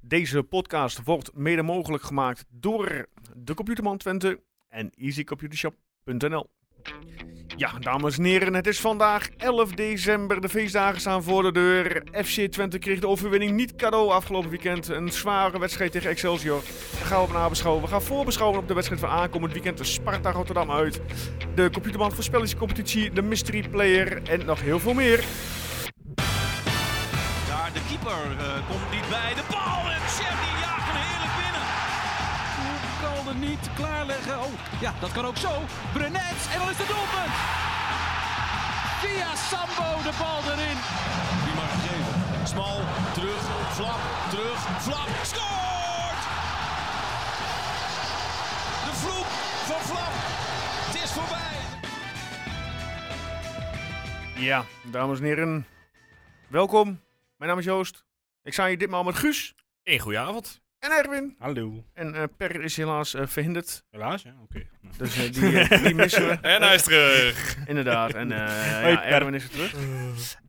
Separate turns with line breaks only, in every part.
Deze podcast wordt mede mogelijk gemaakt door de Computerman Twente en easycomputershop.nl. Ja, dames en heren, het is vandaag 11 december. De feestdagen staan voor de deur. FC Twente kreeg de overwinning niet cadeau afgelopen weekend. Een zware wedstrijd tegen Excelsior. Daar gaan we nabeschouwen. We gaan voorbeschouwen op de wedstrijd van aankomend weekend. De Sparta Rotterdam uit. De Computerman voorspellingscompetitie. De Mystery Player. En nog heel veel meer.
Daar de keeper eh, komt niet bij. De bal en Chef die jaagt hem heerlijk binnen.
kan er niet klaarleggen. Oh, ja, dat kan ook zo. Brenets, en dan is het doelpunt. Via Sambo de bal erin.
Die mag geven. Smal, terug, flap, terug, flap. Scoort! De vloek van flap. Het is voorbij.
Ja, dames en heren. Welkom. Mijn naam is Joost. Ik sta hier ditmaal met Guus
Een goede avond.
en Erwin.
Hallo.
En eh, Per is helaas eh, verhinderd.
Helaas, ja, oké. Nou.
Dus eh, die, eh, die missen we.
En hij is terug.
Inderdaad. En eh,
Hoi,
ja,
Per.
Erwin is er terug.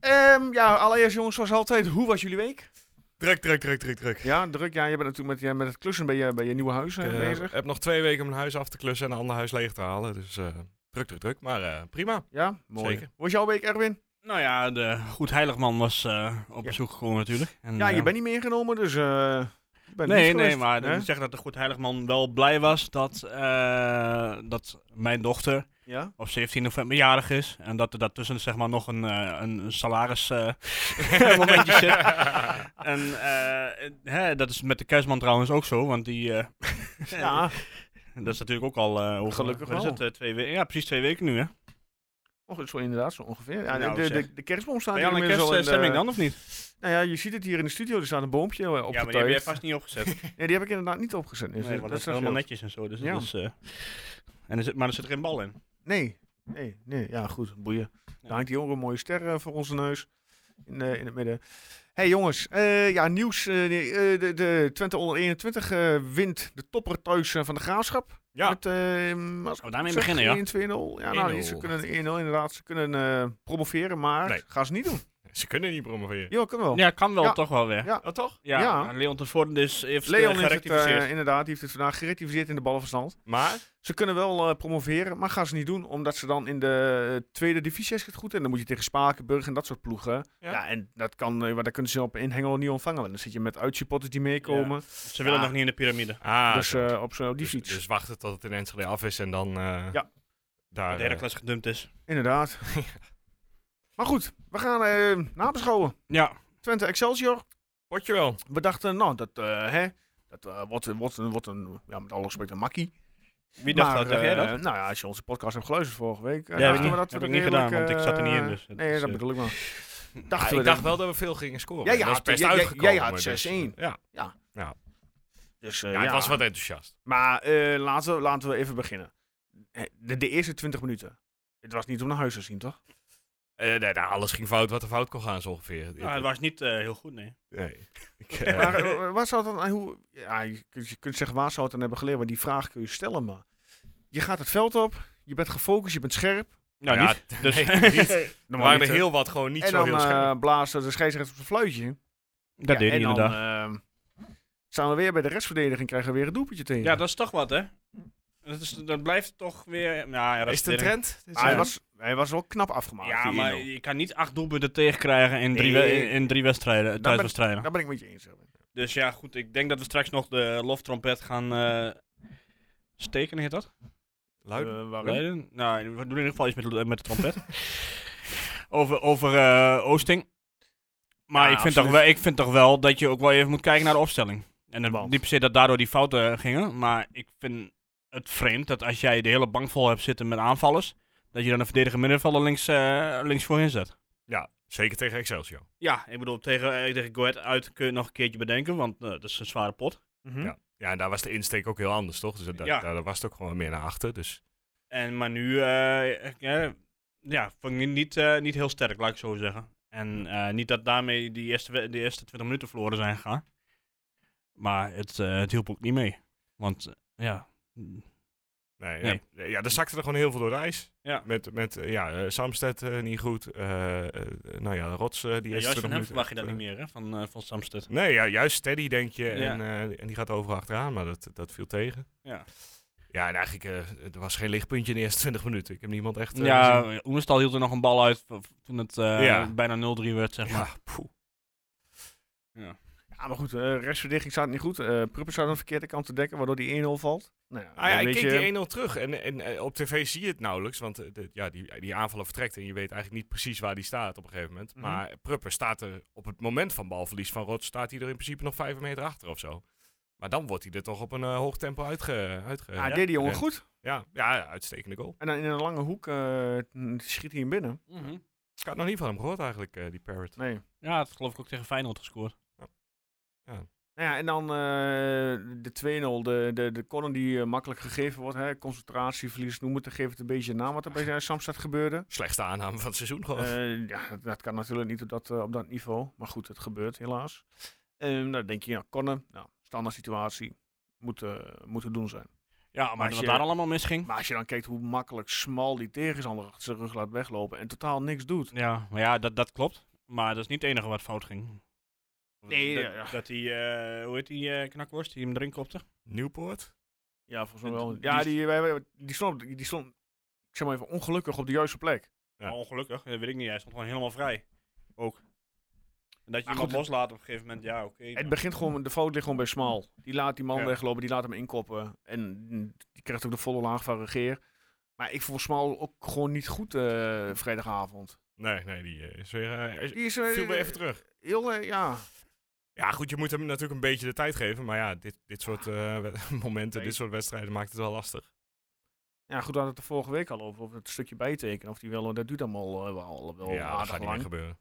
Ehm, ja, allereerst jongens, zoals altijd. Hoe was jullie week?
Druk, druk, druk, druk, druk.
Ja, druk. Ja, je bent natuurlijk met, ja, met het klussen bij je, bij je nieuwe huis eh,
Ik eh,
bezig.
heb nog twee weken om mijn huis af te klussen en een ander huis leeg te halen. Dus eh, druk, druk, druk. Maar eh, prima.
Ja, mooi.
zeker.
Hoe was jouw week, Erwin?
Nou ja, de Goed Heiligman was eh, op
Ja.
bezoek gekomen natuurlijk. En,
Ja, je
eh,
bent niet meegenomen, dus... eh, je bent
Nee,
niet
nee,
geweest,
maar dat
hè?
wil zeggen dat de Goed Heiligman wel blij was dat, eh, dat mijn dochter
Ja?
op 17 november jarig is. En dat er daartussen zeg maar nog een, eh, een salaris eh, momentje zit. En eh, hè, dat is met de kerstman trouwens ook zo, want die... eh,
Ja.
Dat is natuurlijk ook al... eh over,
Gelukkig
wat is
wel. Ah,
het, eh, twee we- ja, precies twee weken nu hè.
Oh, zo inderdaad, zo ongeveer. Ja,
Nou,
de, de,
zeg.
de kerstboom staat
Ben
hier
je al een
inmiddels al in de-
kerststemming eh, dan of niet?
Nou ja, je ziet het hier in de studio, er staat een boompje eh, opgetuigd.
ja, maar die heb jij vast niet opgezet.
Nee, die heb ik inderdaad niet opgezet. Dus
nee,
dat
want
dat
dat is helemaal netjes en zo. Dus
Ja.
dat is, eh, en er zit, maar er zit geen bal in.
Nee, nee, nee. Ja, goed, boeien. Daar hangt die ook een mooie ster eh, voor onze neus. In, eh, in het midden. hey, jongens, eh, ja, nieuws. eh, nee, eh, de, de Twente onder 21 eh, wint de topper thuis eh, van de Graafschap.
Ja.
Met, eh, als ik
Oh, daarmee
zeg,
beginnen, ja.
1-2-0. Ja, nou,
1-0.
ze kunnen 1-0 inderdaad. Ze kunnen eh, promoveren, maar
Nee.
gaan ze niet doen.
Ze kunnen niet promoveren.
Ja, kunnen wel.
Ja, kan wel
Ja.
toch wel weer.
Ja.
Dat toch?
Ja,
Ja.
maar Leon tevoren is heeft eh,
Leon heeft het, eh,
gerectificeerd.
inderdaad, die heeft het vandaag gerectificeerd in de ballenverstand.
Maar,
Ze kunnen wel eh, promoveren, maar gaan ze niet doen. Omdat ze dan in de eh, tweede divisie is het goed. En dan moet je tegen Spakenburg en dat soort ploegen. Ja,
Ja.
en dat kan, eh, maar daar kunnen ze op in Hengelo niet ontvangen. Want dan zit je met uitsupporters die meekomen.
Ze willen
Ja.
nog niet in de piramide.
ah,
dus
zo.
eh, op, zo- op die
dus,
fiets.
dus wachten tot het in Enschede af is en dan eh,
Ja.
daar
de derde
eh,
klas gedumpt is.
Inderdaad. maar goed, we gaan eh, nabeschouwen.
Ja.
Twente Excelsior.
potje wel.
We dachten, nou, dat, eh, hè, dat eh, wordt, wordt, een- wordt een, ja, met alle respect, een makkie.
Wie dacht dat? Dacht jij dat?
eh, nou ja, als je onze podcast hebt geluisterd vorige week. eh,
Ja, heb
dachten we
ik
we
niet- heb
er
ik niet
redelijk,
gedaan, want ik zat er niet in,
eh,
dus het
nee,
is,
dat
eh,
bedoel ik wel.
Ah,
Dachten we dat-
ik dacht wel dat we veel gingen scoren.
Ja, je
Dat is
had-
best
jij- jij-
uitgekomen,
jij had
dus-
6-1.
Ja.
Dus, eh,
Ja, het was wat enthousiast.
Maar eh, laten, we, laten we even beginnen. Eh, De, de eerste 20 minuten. Het was niet om naar huis te zien, toch?
Eh, nee, nou, alles ging fout wat er fout kon gaan, zo ongeveer.
Nou, het was niet eh, heel goed, nee.
Nee. Ik, eh,
Maar eh, waar zou het dan... Hoe, ja, je, kunt, je kunt zeggen, waar zou het dan hebben geleerd? Maar die vraag kun je stellen, maar... Je gaat het veld op, je bent gefocust, je bent scherp.
Nou,
ja,
niet. Dus,
nee, niet.
Dan
Er waren er heel wat gewoon niet
en
zo
dan
heel scherp.
eh, blaast de scheidsrechter op zijn fluitje.
dat
Ja,
deed hij
en
inderdaad.
dan eh, staan we weer bij de restverdediging, krijgen we weer een doelpuntje tegen.
ja, dat is toch wat, hè? Dat, is, dat blijft toch weer... Nou, ja, dat
is het een
weer-
trend?
Maar
Dit
Dus hij,
jaar?
was, hij was wel knap afgemaakt.
Ja,
die
maar
1-0.
je kan niet acht doelpunten tegenkrijgen Ah, in drie,
Nee.
we- in, in drie wedstrijden,
ben ik-
thuiswedstrijden.
Daar ben ik met je eens. Erwin.
Dus ja, goed. Ik denk dat we straks nog de loftrompet gaan eh, steken, heet dat?
Luid?
Eh, waarom?
Leiden? Nou, we doen in ieder geval iets met, eh, met de trompet. over over eh, Oosting. Maar
Ja,
ik, vind
absoluut.
toch wel, ik vind toch wel dat je ook wel even moet kijken naar de opstelling. En het,
Want?
niet per se dat daardoor die fouten gingen. Maar ik vind het vreemd dat als jij de hele bank vol hebt zitten met aanvallers... dat je dan een verdediger middenvelder links, eh, links voorin zet.
Ja, zeker tegen Excelsior.
Ja, ik bedoel, tegen, eh, tegen Go Ahead uit kun je het nog een keertje bedenken, want eh, dat is een zware pot.
Mhm.
Ja, en daar was de insteek ook heel anders, toch? Dus da-
Ja.
daar was het ook gewoon meer naar achter. Dus
En, maar nu, eh, ik, eh, ja, vond ik niet, eh, niet heel sterk, laat ik zo zeggen. En eh, niet dat daarmee die eerste, we- die eerste 20 minuten verloren zijn gegaan. Maar het, eh, het hielp ook niet mee. Want, eh, ja,
Nee,
Nee.
Ja, ja, er zakte er gewoon heel veel door de ijs.
Ja.
Met, met eh, ja, eh, Samsted eh, niet goed. eh, eh, nou ja, Rots eh, die
Ja,
is
juist van hem verwacht je dat
dat
niet meer, hè? Van, eh, van Samsted.
Nee, ja, juist Steady denk je.
Ja.
En, eh, en die gaat overal achteraan, maar dat, dat viel tegen.
Ja.
Ja, en eigenlijk, eh, er was geen lichtpuntje in de eerste 20 minuten. Ik heb niemand echt eh, gezien.
Ja, Oenestal hield er nog een bal uit v- v- toen het eh,
Ja.
bijna 0-3 werd, zeg maar.
Ja, poeh.
Ja, maar goed, eh rechtsverdediging staat niet goed. Eh Pruppen staat aan de verkeerde kant te dekken, waardoor die 1-0 valt. Nou ja,
Ah ja,
dan
ik
weet
keek
je-
die 1-0 terug en, en eh, op tv zie je het nauwelijks, want eh, de- ja, die, die aanvaller vertrekt en je weet eigenlijk niet precies waar die staat op een gegeven moment.
Mhm.
Maar Prupper staat er op het moment van balverlies van Rots, staat hij er in principe nog vijf meter achter of zo. Maar dan wordt hij er toch op een eh, hoog tempo uitge... uitge
Ja, deed die jongen
Ja.
goed.
ja, ja, ja, uitstekende goal.
En dan in een lange hoek eh, n- schiet hij hem binnen.
Mhm.
Ik had nog niet van hem gehoord eigenlijk, eh, die Parrot.
Nee.
Ja, dat geloof ik ook tegen Feyenoord gescoord.
Nou ja, en dan eh, de 2-0. De, de, de corner die eh, makkelijk gegeven wordt. Hè, concentratieverlies, noem het. Dan geeft het een beetje een naam wat er bij eh, Samstad gebeurde.
Slechtste aanname van het seizoen gewoon.
Eh, ja, dat, dat kan natuurlijk niet op dat, eh, op dat niveau. Maar goed, het gebeurt helaas. Ehm dan denk je, ja, corner. Nou, standaard situatie. Moet, eh, moet te doen zijn.
Ja, maar
als
wat
je-
daar allemaal misging.
Maar als je dan kijkt hoe makkelijk smal die tegenstander achter zijn rug laat weglopen. En totaal niks doet.
Ja, maar ja, dat, dat klopt. Maar dat is niet het enige wat fout ging.
Nee,
dat,
ja, ja.
dat die, eh, hoe heet die eh, knakworst, die hem erin kopte?
Newport?
Ja, volgens mij
En
wel.
die-
Ja, die, wij- wij- die, stond, op- die stond, ik zeg maar even, ongelukkig op de juiste plek.
Ja.
Maar ongelukkig, Oh, dat weet ik niet. Hij stond gewoon helemaal vrij. Ook. En dat je
Maar
iemand
goed,
loslaat op een gegeven moment, ja, oké.
Het begint gewoon, de fout ligt gewoon bij Smal. Die laat die man
Ja.
weglopen, die laat hem inkoppen. En mm, die krijgt ook de volle laag van regeer. Maar ik vond Smal ook gewoon niet goed eh, vrijdagavond.
Nee, nee, die eh, is weer... eh, is-
Die is eh,
viel weer even terug.
heel, eh, ja.
Ja, goed, je moet hem natuurlijk een beetje de tijd geven. Maar ja, dit, dit soort eh, we- momenten,
Nee.
dit soort wedstrijden maakt het wel lastig.
ja, goed, we hadden het er vorige week al over. Of het stukje bijtekenen, of die wel, dat duurt allemaal eh, wel, wel
ja, dat
aardig
gaat niet meer
lang.
gebeuren.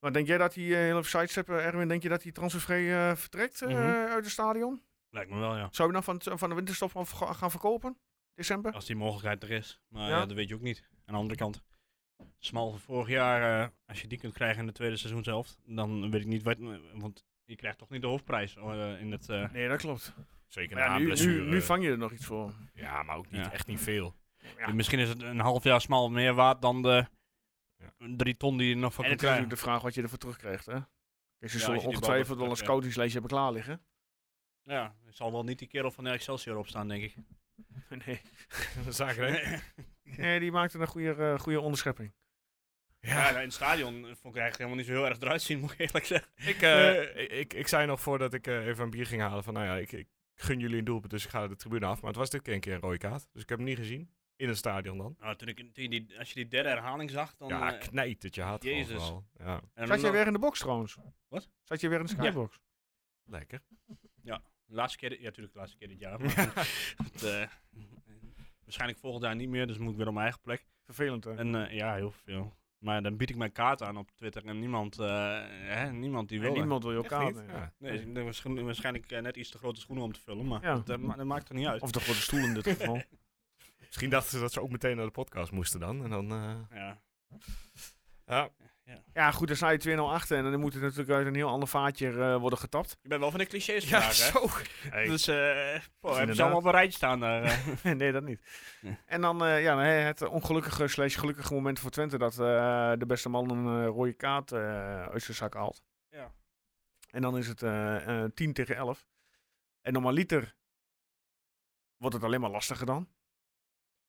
Maar denk jij dat die eh, heel even sidesteppen, Erwin, denk je dat hij transfervrij eh, vertrekt eh,
Mhm.
uit het stadion?
Lijkt me wel, ja.
Zou je nou van, het- van de winterstop af ga- gaan verkopen? December?
Als die mogelijkheid er is. Maar
Ja.
ja, dat weet je ook niet. Aan de andere kant, Smal van vorig jaar, eh, als je die kunt krijgen in de tweede seizoen zelf, dan weet ik niet wat... Want je krijgt toch niet de hoofdprijs eh, in het... eh,
Nee, dat klopt.
Zeker
Maar ja,
na een
nu, nu,
blessure.
nu vang je er nog iets voor.
Ja, maar ook niet,
Ja.
echt niet veel.
Ja.
Dus Misschien is het een half jaar Smal meer waard dan de
Ja.
drie ton die je er nog van
en
kunt
het is natuurlijk
krijgen.
de vraag wat je ervoor terugkrijgt, hè? Kijk, ze
Ja,
zullen
als je die
ongetwijfeld
bal
wel een
terug hebt.
scoutingslijstje hebben klaar liggen.
Ja, er zal wel niet die kerel van de Excelsior op staan, denk ik.
Nee,
Zaken, hè?
nee die maakte een goede, eh, goede onderschepping.
Ja, in het stadion vond ik eigenlijk helemaal niet zo heel erg eruit zien, moet ik eerlijk zeggen.
Ik, eh, ik, ik, ik zei nog voordat ik eh, even een bier ging halen van, nou ja, ik, ik gun jullie een doelpunt, dus ik ga de tribune af. Maar het was dit keer een keer een rode kaart, dus ik heb hem niet gezien. In het stadion dan.
Nou, toen ik, toen je die, als je die derde herhaling zag, dan...
Ja,
eh,
knijt het je hart gewoon
Jezus.
vooral. Ja,
en
Zat jij
dan-
weer in de box trouwens?
Wat?
Zat je weer in de
Ja.
skybox?
lekker.
de laatste keer, dit- ja natuurlijk de laatste keer dit jaar. Maar, het, eh, waarschijnlijk volgend jaar niet meer, dus moet ik weer op mijn eigen plek.
Vervelend, hè?
En eh, ja, heel veel. Maar dan bied ik mijn kaart aan op Twitter en niemand, eh, hè, niemand die
En
wil. dat.
niemand wil je elkaar.
Echt niet?
nee.
Ja.
Nee, Dus ik denk waarsch- waarschijnlijk eh, net iets te grote schoenen om te vullen, maar
Ja.
dat, eh, ma- dat maakt er niet uit.
Of de grote stoel in dit geval.
Misschien dachten ze dat ze ook meteen naar de podcast moesten dan. En dan eh,
Ja.
ja,
Ja, goed, dan sta je 2-0 achter en dan moet het natuurlijk uit een heel ander vaatje eh, worden getapt.
Ik ben wel van de clichés
ja,
vandaag, hè.
zo.
Dus eh boh, hebben
inderdaad.
ze allemaal op een rijtje staan daar. eh.
nee, dat niet.
Nee.
En dan eh, ja, nee, het ongelukkige slash gelukkige moment voor Twente dat eh, de beste man een eh, rode kaart eh, uit zijn zak haalt.
Ja.
En dan is het eh, eh, 10 tegen 11. En normaliter wordt het alleen maar lastiger dan.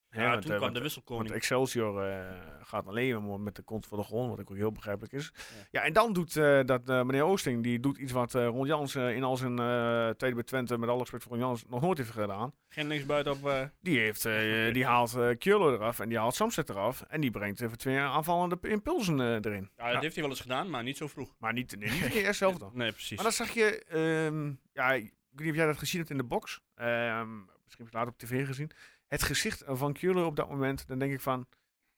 Ja,
Hè, want,
toen
eh, want-
kwam de
want
wisselkoning.
Excelsior eh, gaat alleen maar met de kont voor de grond, wat ook heel begrijpelijk is. Ja,
Ja.
en dan doet eh, dat eh, meneer Oosting, die doet iets wat eh Ron Jans eh, in al zijn eh tijd bij Twente, met alle respect voor Ron Jans, nog nooit heeft gedaan.
Geen linksbuiten op... eh,
Die, heeft, eh, die haalt eh Kjolo eraf en die haalt Samset eraf. En die brengt even twee aanvallende impulsen eh, erin.
ja, dat heeft hij wel eens gedaan, maar niet zo vroeg.
Maar niet, nee, niet in de eerste helft dan.
Nee, precies.
Maar dan zag je, ehm, ja, ik weet niet of jij dat gezien hebt in de box. Ehm, misschien heb je het later op tv gezien. Het gezicht van Keuler op dat moment, dan denk ik van,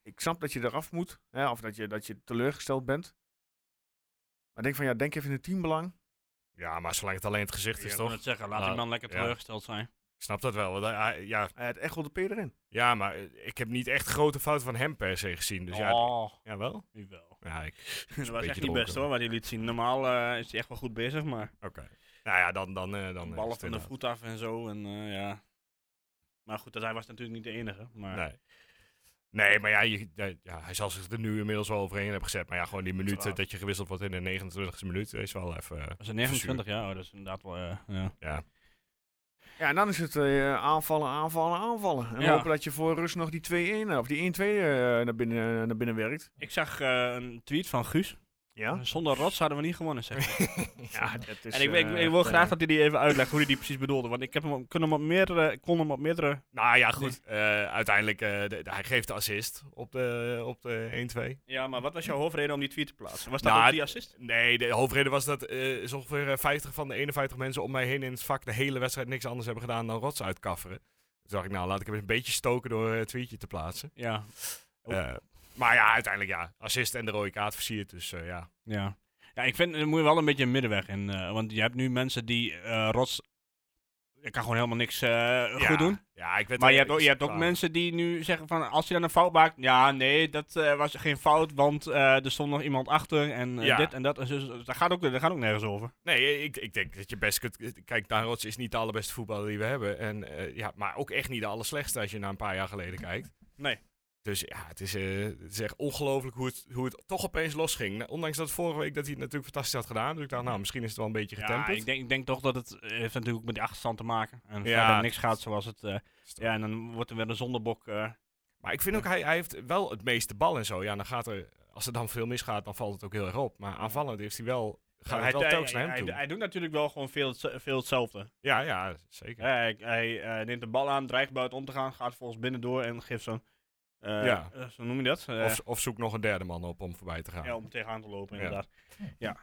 ik snap dat je eraf moet. Hè, of dat je, dat je teleurgesteld bent. Maar denk van, ja, denk even in het teambelang.
Ja, maar zolang het alleen het gezicht is,
ik
toch?
wil het zeggen, laat
Nou,
die man lekker
ja.
teleurgesteld zijn.
Ik snap dat wel. want hij- hij- ja,
Eh, het echt wel de P erin.
ja, maar eh, ik heb niet echt grote fouten van hem per se gezien. Dus ja,
oh,
ja, wel.
jawel.
Ja, ik,
Dat was echt niet
dronken.
best hoor, wat hij liet zien. Normaal eh, is hij echt wel goed bezig, maar
oké. Nou ja, dan... dan, eh dan eh,
ballen
is het
van de
inderdaad.
voet af en zo. En, eh, ja. Maar goed, dat hij was natuurlijk niet de enige. Maar
Nee. Nee, maar ja, je, de- ja, hij zal zich er nu inmiddels wel overheen hebben gezet. Maar ja, gewoon die minuut eh, dat je gewisseld wordt in de 29e minuut is wel even... eh,
was het 29 jaar? Oh, dat is inderdaad wel... eh, ja.
ja.
Ja, en dan is het eh, aanvallen, aanvallen, aanvallen. En
Ja.
hopen dat je voor rust nog die 2-1 of die 1-2 eh, naar, binnen, naar binnen werkt.
Ik zag eh, een tweet van Guus.
Ja,
Zonder rots hadden we niet gewonnen, zeg maar.
ja dat is...
en ik, ik,
eh,
ik wil graag dat hij die even uitlegt hoe hij die precies bedoelde. Want ik, heb hem, op- kon, hem op meerdere, ik kon hem op meerdere...
Nou ja, goed. eh, uiteindelijk, eh, de- de- hij geeft de assist op de, op de 1-2.
Ja, maar wat was jouw hoofdreden om die tweet te plaatsen? Was
dat Nou, ook
die
die
assist?
Nee, de hoofdreden was dat eh is ongeveer eh, 50 van de 51 mensen om mij heen in het vak de hele wedstrijd niks anders hebben gedaan dan rots uitkafferen. Toen dacht ik, nou laat ik hem eens een beetje stoken door eh, een tweetje te plaatsen.
Ja. Oh.
Eh, maar ja, uiteindelijk ja, assist en de rode kaart versierd, dus eh, ja.
Ja. Ja, ik vind, er moet je wel een beetje een middenweg in. eh, want je hebt nu mensen die eh, rots... Ik kan gewoon helemaal niks eh,
Ja.
goed doen.
Ja, ik werd
Maar
er
je hebt, ook, je
echt
hebt ook
klaar mee.
mensen die nu zeggen van, als je dan een fout maakt, ja, nee, dat eh, was geen fout, want eh, er stond nog iemand achter en eh,
Ja.
dit en dat. En zo, zo. dat, gaat ook, dat gaat ook nergens over.
Nee, ik, ik denk dat je best kunt... Kijk, Daarots is niet de allerbeste voetballer die we hebben. En, eh, ja, maar ook echt niet de allerslechtste als je naar een paar jaar geleden kijkt.
Nee.
Dus ja, het is, eh, het is echt ongelooflijk hoe het, hoe het toch opeens losging. Nou, Ondanks dat vorige week dat hij het natuurlijk fantastisch had gedaan. Dus ik dacht, nou, misschien is het wel een beetje
Ja,
getemperd.
ik denk, ik denk toch dat het eh, heeft natuurlijk ook met die achterstand te maken. En
Ja.
verder niks gaat zoals het... eh,
Stop.
ja, en dan wordt er weer een zondebok. eh,
Maar ik vind ook, hij, hij heeft wel het meeste bal en zo. Ja, dan gaat er... Als er dan veel misgaat, dan valt het ook heel erg op. Maar aanvallend heeft hij wel... Gaat
hij,
het wel
hij-
telkens naar
hij,
hem toe.
hij, hij doet natuurlijk wel gewoon veel, hetze- veel hetzelfde.
ja, ja, zeker.
Hè, Hij, hij eh, neemt de bal aan, dreigt buiten om te gaan, gaat volgens binnen door en geeft zo'n... eh,
Ja.
eh, zo noem je dat? Eh,
Of, of zoek nog een derde man op om voorbij te gaan.
Ja, om tegenaan te lopen,
Ja.
inderdaad. Ja.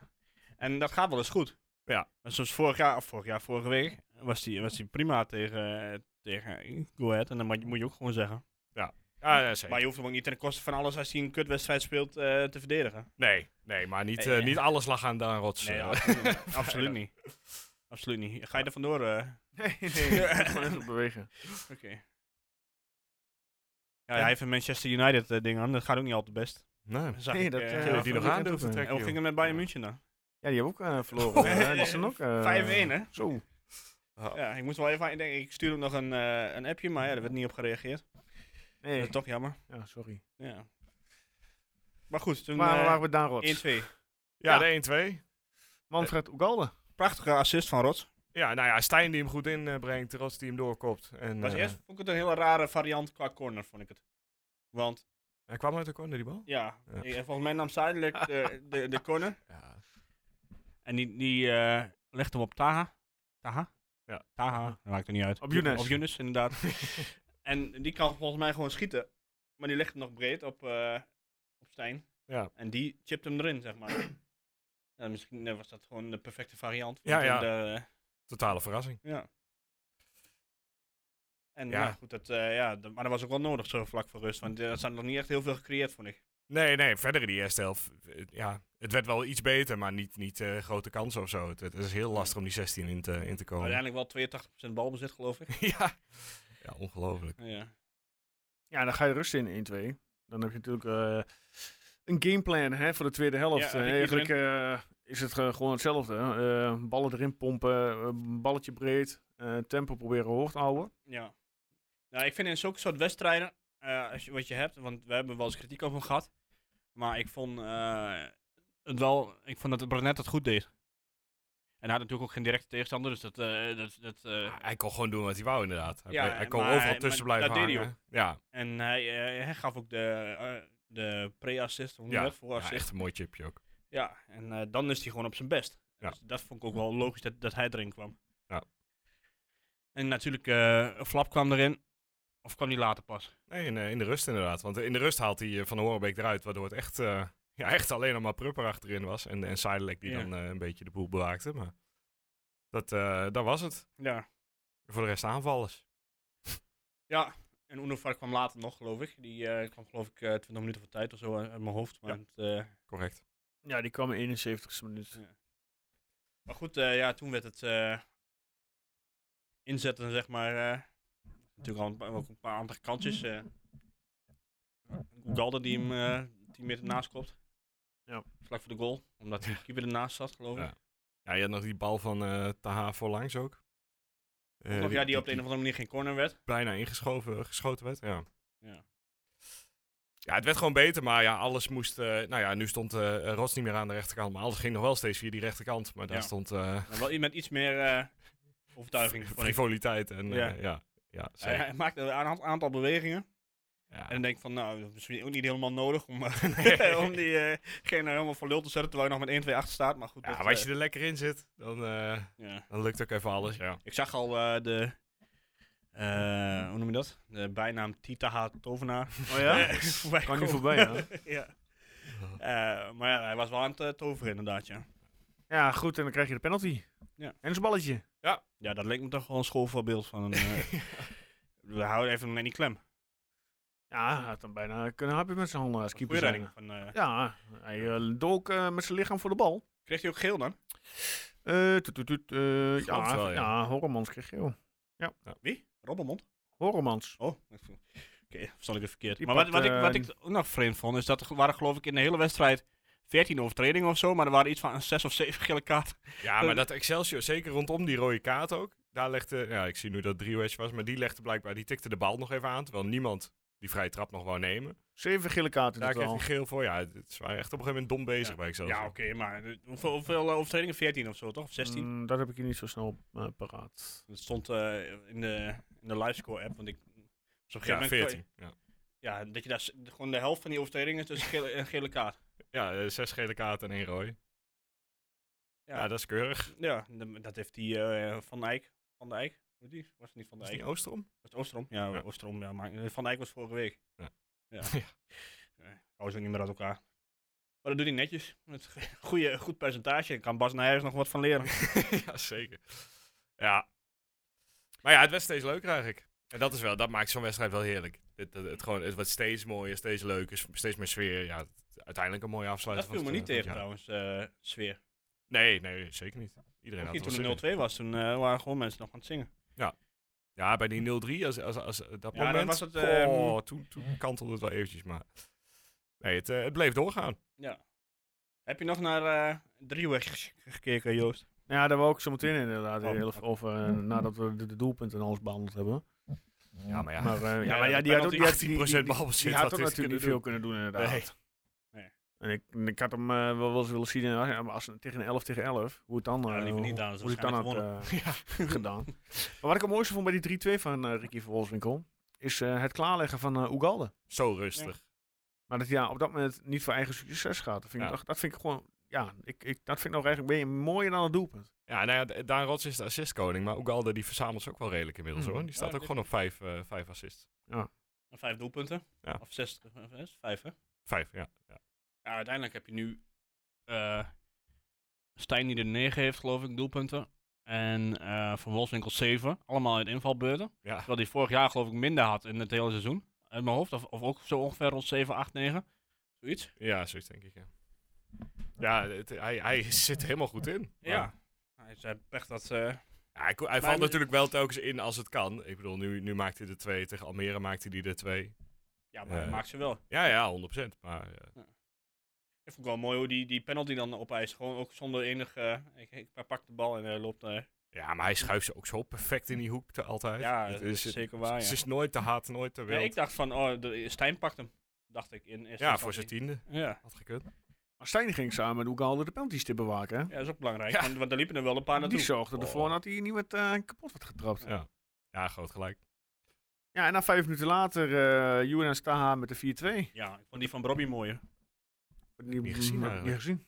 En dat gaat wel eens goed.
Ja.
En zoals vorig jaar, of vorig jaar, vorige week, was die, was die prima tegen, eh, tegen Go Ahead. En dan moet je, moet je ook gewoon zeggen.
Ja, ja, zeker.
Maar je hoeft hem ook niet ten koste van alles als hij een kutwedstrijd speelt eh, te verdedigen.
Nee, nee, maar niet,
Nee,
eh,
nee.
niet alles lag aan Daan Rots.
Nee,
eh.
absoluut, niet. absoluut niet. Absoluut niet. Ga je er vandoor? eh?
Nee, nee, nee. Gewoon even bewegen.
Oké. Ja, hij heeft een Manchester United eh, ding aan. Dat gaat ook niet altijd best.
nee.
Zag
Nee,
ik,
dat,
eh,
eh,
Ja,
vanaf-
die
dat
nog
moet
aan
ik
durven
even-
trekken.
en hoe ging het met Bayern München dan?
Ja, die hebben ook eh, verloren. hè. Die staan ook... eh,
5-1 hè?
Zo.
Ja, ik moest wel even aan denken. Ik stuurde hem nog een, eh, een appje, maar ja, daar werd niet op gereageerd.
Nee.
Dat is toch jammer.
Ja, sorry.
Ja. Maar goed, toen
Waar
eh,
waren we daar, Rots?
1-2.
Ja, de 1-2.
Manfred Ugalde.
Prachtige assist van Rots.
Ja, nou ja, Stijn die hem goed inbrengt, Rots die hem doorkopt. En,
Was
eh,
eerst vond ik het een hele rare variant qua corner, vond ik het. Want
Hij kwam uit de corner, die bal?
ja,
Ja.
eh, volgens mij nam Zuidelijk de, de, de corner.
Ja.
En die, die eh, legde hem op Taha. Taha?
Ja.
Taha, dat maakt er niet uit.
Op Younes.
Op Younes, inderdaad. en die kan volgens mij gewoon schieten. Maar die legt hem nog breed op, eh, op Stijn.
Ja.
En die chipt hem erin, zeg maar. Ja, misschien eh, was dat gewoon de perfecte variant.
Ja, ja.
De, eh,
Totale verrassing.
Ja. En ja,
Ja.
goed, dat, eh, ja, dat- maar dat was ook wel nodig zo vlak voor rust. Want eh, er zijn nog niet echt heel veel gecreëerd, vond ik.
Nee, nee, verder in die eerste helft. eh, Ja, het werd wel iets beter, maar niet, niet eh, grote kansen of zo. Het, het is heel lastig om die 16 in te, in te komen. Ja,
Uiteindelijk wel 82% balbezit, geloof ik.
ja. ongelooflijk.
Ja.
Ja, dan ga je rust in 1-2. Dan heb je natuurlijk eh, een gameplan hè, voor de tweede helft.
Ja,
Eh,
ik-
eigenlijk eh, is het eh, gewoon hetzelfde. hè. Eh, ballen erin pompen, eh, balletje breed, eh, tempo proberen hoog te houden.
ja. Nou, ik vind in zulke soort wedstrijden, eh, als je, wat je hebt, want we hebben wel eens kritiek op hem gehad. Maar ik vond, eh, het wel, ik vond dat Brunet het goed deed. En hij had natuurlijk ook geen directe tegenstander, dus dat... eh, dat, dat eh,
Ja, hij kon gewoon doen wat hij wou, inderdaad. Hij,
Ja,
ble- hij kon
maar-
overal
maar
tussen blijven
dat deed hij
hangen. Ja,
en hij, eh, hij gaf ook de, eh, de pre-assist, hoe noem je
ja.
dat, voor-assist.
ja, echt een mooi chipje ook.
Ja, en eh, dan is hij gewoon op zijn best.
Ja.
Dus dat vond ik ook wel logisch dat, dat hij erin kwam.
Ja.
En natuurlijk, eh, Flap kwam erin. Of kwam die later pas?
Nee, in, eh, in de rust inderdaad. Want in de rust haalt hij eh, Van de Horenbeek eruit, waardoor het echt, eh, ja, echt alleen nog maar Prupper achterin was. En, en Seidelijk die
Ja.
dan eh, een beetje de boel bewaakte. Maar dat, eh, dat was het.
Ja.
Voor de rest aanvallers.
Ja, en Unovar kwam later nog, geloof ik. Die eh, kwam geloof ik eh 20 minuten van tijd of zo uit uit mijn hoofd. Maar,
Ja.
het, eh,
Correct.
Ja, die kwam in 71ste minuut.
maar goed, eh, ja, toen werd het eh, inzetten, zeg maar. eh, natuurlijk al een paar, ook een paar andere kantjes. eh Galder die hem eh 10 meter naast kopt.
Ja.
Vlak voor de goal, omdat de keeper ernaast zat, geloof ik.
Ja. Ja, je had nog die bal van eh Taha voorlangs ook. Eh, eh,
of ja, die op de een of andere manier geen corner werd.
bijna ingeschoven eh, geschoten werd. Ja.
Ja.
ja, het werd gewoon beter, maar ja, alles moest. eh, nou ja, nu stond eh Rots niet meer aan de rechterkant, maar alles ging nog wel steeds via die rechterkant. Maar daar
Ja.
stond eh
Maar wel met iets meer eh, overtuiging. vond ik.
frivoliteit en eh,
Ja.
ja. Ja,
Hij,
zeker.
hij maakte een aantal- aantal bewegingen.
ja.
En dan denk ik van, nou, dat is misschien ook niet helemaal nodig om, eh,
Nee.
om die eh, geen nou helemaal voor lul te zetten terwijl je nog met 1-2 achter staat. Maar goed,
Ja,
dat,
maar als je
eh,
er lekker in zit, dan, eh,
ja.
dan lukt ook even alles. Ja.
Ik zag al eh, de, eh, hoe noem je dat? De bijnaam Titaha Tovenaar.
Oh ja?
Eh, voorbij
Kan niet
komen.
voorbij, hè?
ja. Eh, maar ja, hij was wel aan het eh, toveren inderdaad, ja.
Ja, goed, en dan krijg je de penalty.
Ja.
En een balletje.
Ja, dat leek me toch wel een schoolvoorbeeld van een... eh, We houden even met die klem.
Ja, hij had dan bijna kunnen hebben met zijn handen als keeper.
Goeie redding.
zijn.
Van, eh,
Ja, hij eh, dook eh, met zijn lichaam voor de bal.
kreeg hij ook geel dan?
Eh, toet, toet, toet, eh,
Geloof
ja,
het wel,
ja.
ja.
Horremans kreeg geel.
Wie? Robbermond?
Horremans.
Oh, oké, verstand ik het verkeerd.
Die
maar wat,
pakt,
wat, ik, wat
eh,
ik ook nog vreemd vond, is dat er waren geloof ik in de hele wedstrijd 14 overtredingen of zo, maar er waren iets van 6 of 7 gele kaart.
ja, maar dat Excelsior, zeker rondom die rode kaart ook. Daar legde, ja, ik zie nu dat Driewedge was, maar die legde blijkbaar, die tikte de bal nog even aan. Terwijl niemand die vrije trap nog wou nemen.
Zeven gele kaarten in
Daar kreeg
totaal.
hij geel voor. Ja, het- ze waren echt op een gegeven moment dom bezig bij Excelsior.
Ja, oké, maar eh, hoeveel, hoeveel eh, overtredingen? 14 of zo, toch? Of 16?
Mm, dat heb ik hier niet zo snel eh, paraat.
Dat stond eh, in de, in de livescore app, want ik... dus op een gegeven
Ja,
moment-
14. Ja.
Ja, dat je daar s- gewoon de helft van die overtredingen is dus gele, een gele kaart.
Ja, eh, zes gele kaarten en één rooi. Ja, dat is keurig.
Ja, de- dat heeft die eh, Van Dijk. Van Dijk? Hoe heet die? Was het niet Van
Is
Dijk?
die Oostrom?
Was het Oostrom? Ja,
Ja.
Oostrom. Ja, maar eh, Van Dijk was vorige week.
Ja.
Ja. Nee, Houden ze ook niet meer uit elkaar. Maar dat doet hij netjes. Met goede, goed percentage. Daar kan Bas Nijers nog wat van leren.
ja, zeker. Ja. Maar ja, het werd steeds leuker eigenlijk. En dat, is wel, dat maakt zo'n wedstrijd wel heerlijk. Het, het, het gewoon, het wordt steeds mooier, steeds leuker, s- steeds meer sfeer. Ja, het- uiteindelijk een mooie
dat
afsluiting.
viel me
van
niet
het, eh,
tegen
van het
trouwens, eh, sfeer.
jaar. Nee, nee, zeker niet. Iedereen
Ook
had
niet
het
toen
wel
de 0-2 was, toen eh, waren gewoon mensen nog aan het zingen.
zin in. Ja, bij die 0-3, als, als, als, eh, dat
Ja, dan
moment.
was het, ehm,
oh, toen, toen kantelde het wel eventjes, maar... Nee, het, eh, het bleef doorgaan.
Ja. Heb je nog naar eh Drieweg gekeken, Joost?
Nou Ja, daar wou ik zo meteen inderdaad
Oh,
heel veel over, eh, nadat we de, de doelpunten en alles behandeld hebben.
Ja, maar ja.
Maar, eh, ja,
Ja,
maar ja,
de
die had ook die had-
18%
die- die-
balbezit,
Die
wat
had ook
heeft hij
natuurlijk niet veel kunnen doen, inderdaad.
Nee.
Nee.
En ik, en ik had hem eh, wel wel eens willen zien eh, maar als, tegen een 11 tegen 11, hoe het dan,
Ja,
eh,
liever niet,
hoe,
dan is het
hoe het dan had
waarschijnlijk
eh, gedaan. Maar wat ik het mooiste vond bij die 3-2 van eh, Ricky van Wolfswinkel, is eh, het klaarleggen van eh Ugalde.
Zo rustig.
Maar dat hij ja, op dat moment niet voor eigen succes gaat. Dat vind ik,
Ja.
dat, dat vind ik gewoon, ja, ik, ik, dat vind ik nog eigenlijk ben je mooier dan het doelpunt.
Ja, nou ja, D- Daan Rots is de assistkoning, maar Ugalde die verzamelt ze ook wel redelijk inmiddels
Hmm.
hoor. Die staat
Ja,
ook
dit-
gewoon op vijf, eh, vijf assists.
En Vijf doelpunten.
Ja.
Of zes, eh, zes, vijf hè?
Vijf, ja. ja.
Ja, uiteindelijk heb je nu eh, Stijn die er 9 heeft, geloof ik, doelpunten. En eh, Van Wolfswinkel 7. Allemaal uit invalbeurten.
Ja.
Terwijl hij vorig jaar, geloof ik, minder had in het hele seizoen. Uit mijn hoofd. Of, of ook zo ongeveer rond 7, 8, 9. Zoiets.
ja, zoiets denk ik. Ja, ja het- hij, hij zit er helemaal goed in. Maar-
Hij zei pech dat. eh,
Ja, hij, ko- hij
Maar-
valt natuurlijk wel telkens in als het kan. Ik bedoel, nu, nu maakt hij er twee. Tegen Almere maakt hij die er twee.
ja, maar hij
Eh.
maakt ze wel.
Ja, ja, 100%. Maar eh,
Ik vond het wel mooi hoe die, die penalty dan opeist. Gewoon ook zonder enig. eh, ik, ik hij pakt de bal en hij loopt. eh,
ja, maar hij schuift ze ook zo perfect in die hoek te, altijd.
ja,
Het
dat is zeker waar.
Het
Ja.
is nooit te hard, nooit te
Ja,
wild.
ik dacht van, oh, de, Stijn pakt hem. Dacht ik. In eerste
ja, voor zijn
instantie.
tiende.
Ja.
Had gekund.
Maar Stijn ging samen met Ugalde de penalties te bewaken. hè?
Ja, dat is ook belangrijk,
Ja.
want, want er liepen er wel een paar naartoe.
Die zorgde
Oh.
ervoor dat hij niet met eh, kapot werd getrapt.
Ja. Ja, groot gelijk.
Ja, en dan vijf minuten later, eh Juwen en Staha met de 4-2.
Ja, ik vond die van Robbie mooier.
Die
Niet gezien
heb ik Niet
eigenlijk.
gezien.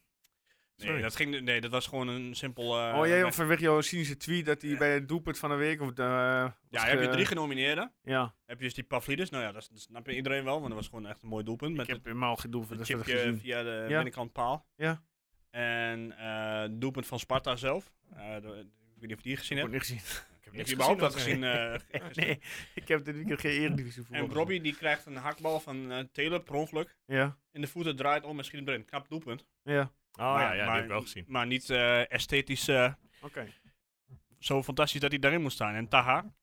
Nee
Sorry.
dat, ging, nee, dat was gewoon een simpel... eh,
oh jij
weg-
vanwege jouw cynische tweet dat hij
Ja.
bij het doelpunt van de week... Of de, eh, was
Ja, heb je
ge-
drie genomineerden.
Ja,
Heb je dus die Pavlidis. Nou ja, dat, is- dat snapt iedereen wel, want dat was gewoon echt een mooi doelpunt. Met
ik heb helemaal geen doelpunt dat
het
heb ik
chipje
gezien.
via de
Ja.
binnenkant paal.
Ja.
En eh, het doelpunt van Sparta zelf. Eh, de- ik weet niet of je die gezien
Ik heb
hebt.
het niet gezien.
Ik
Heb
heb niks
je überhaupt dat
gezien,
gezien? eh,
Nee, ik heb dit weekend geen Eredivisie voetbal
en
gezien.
Robbie die krijgt een hakbal van eh Telen per ongeluk.
Ja,
In de voeten draait om en schiet hem erin. Knap doelpunt.
ja,
Oh ja,
Maar-
ja, die
maar-
heb ik wel gezien.
Maar niet eh, esthetisch... eh,
oké.
zo fantastisch dat hij daarin moest staan. En Taha,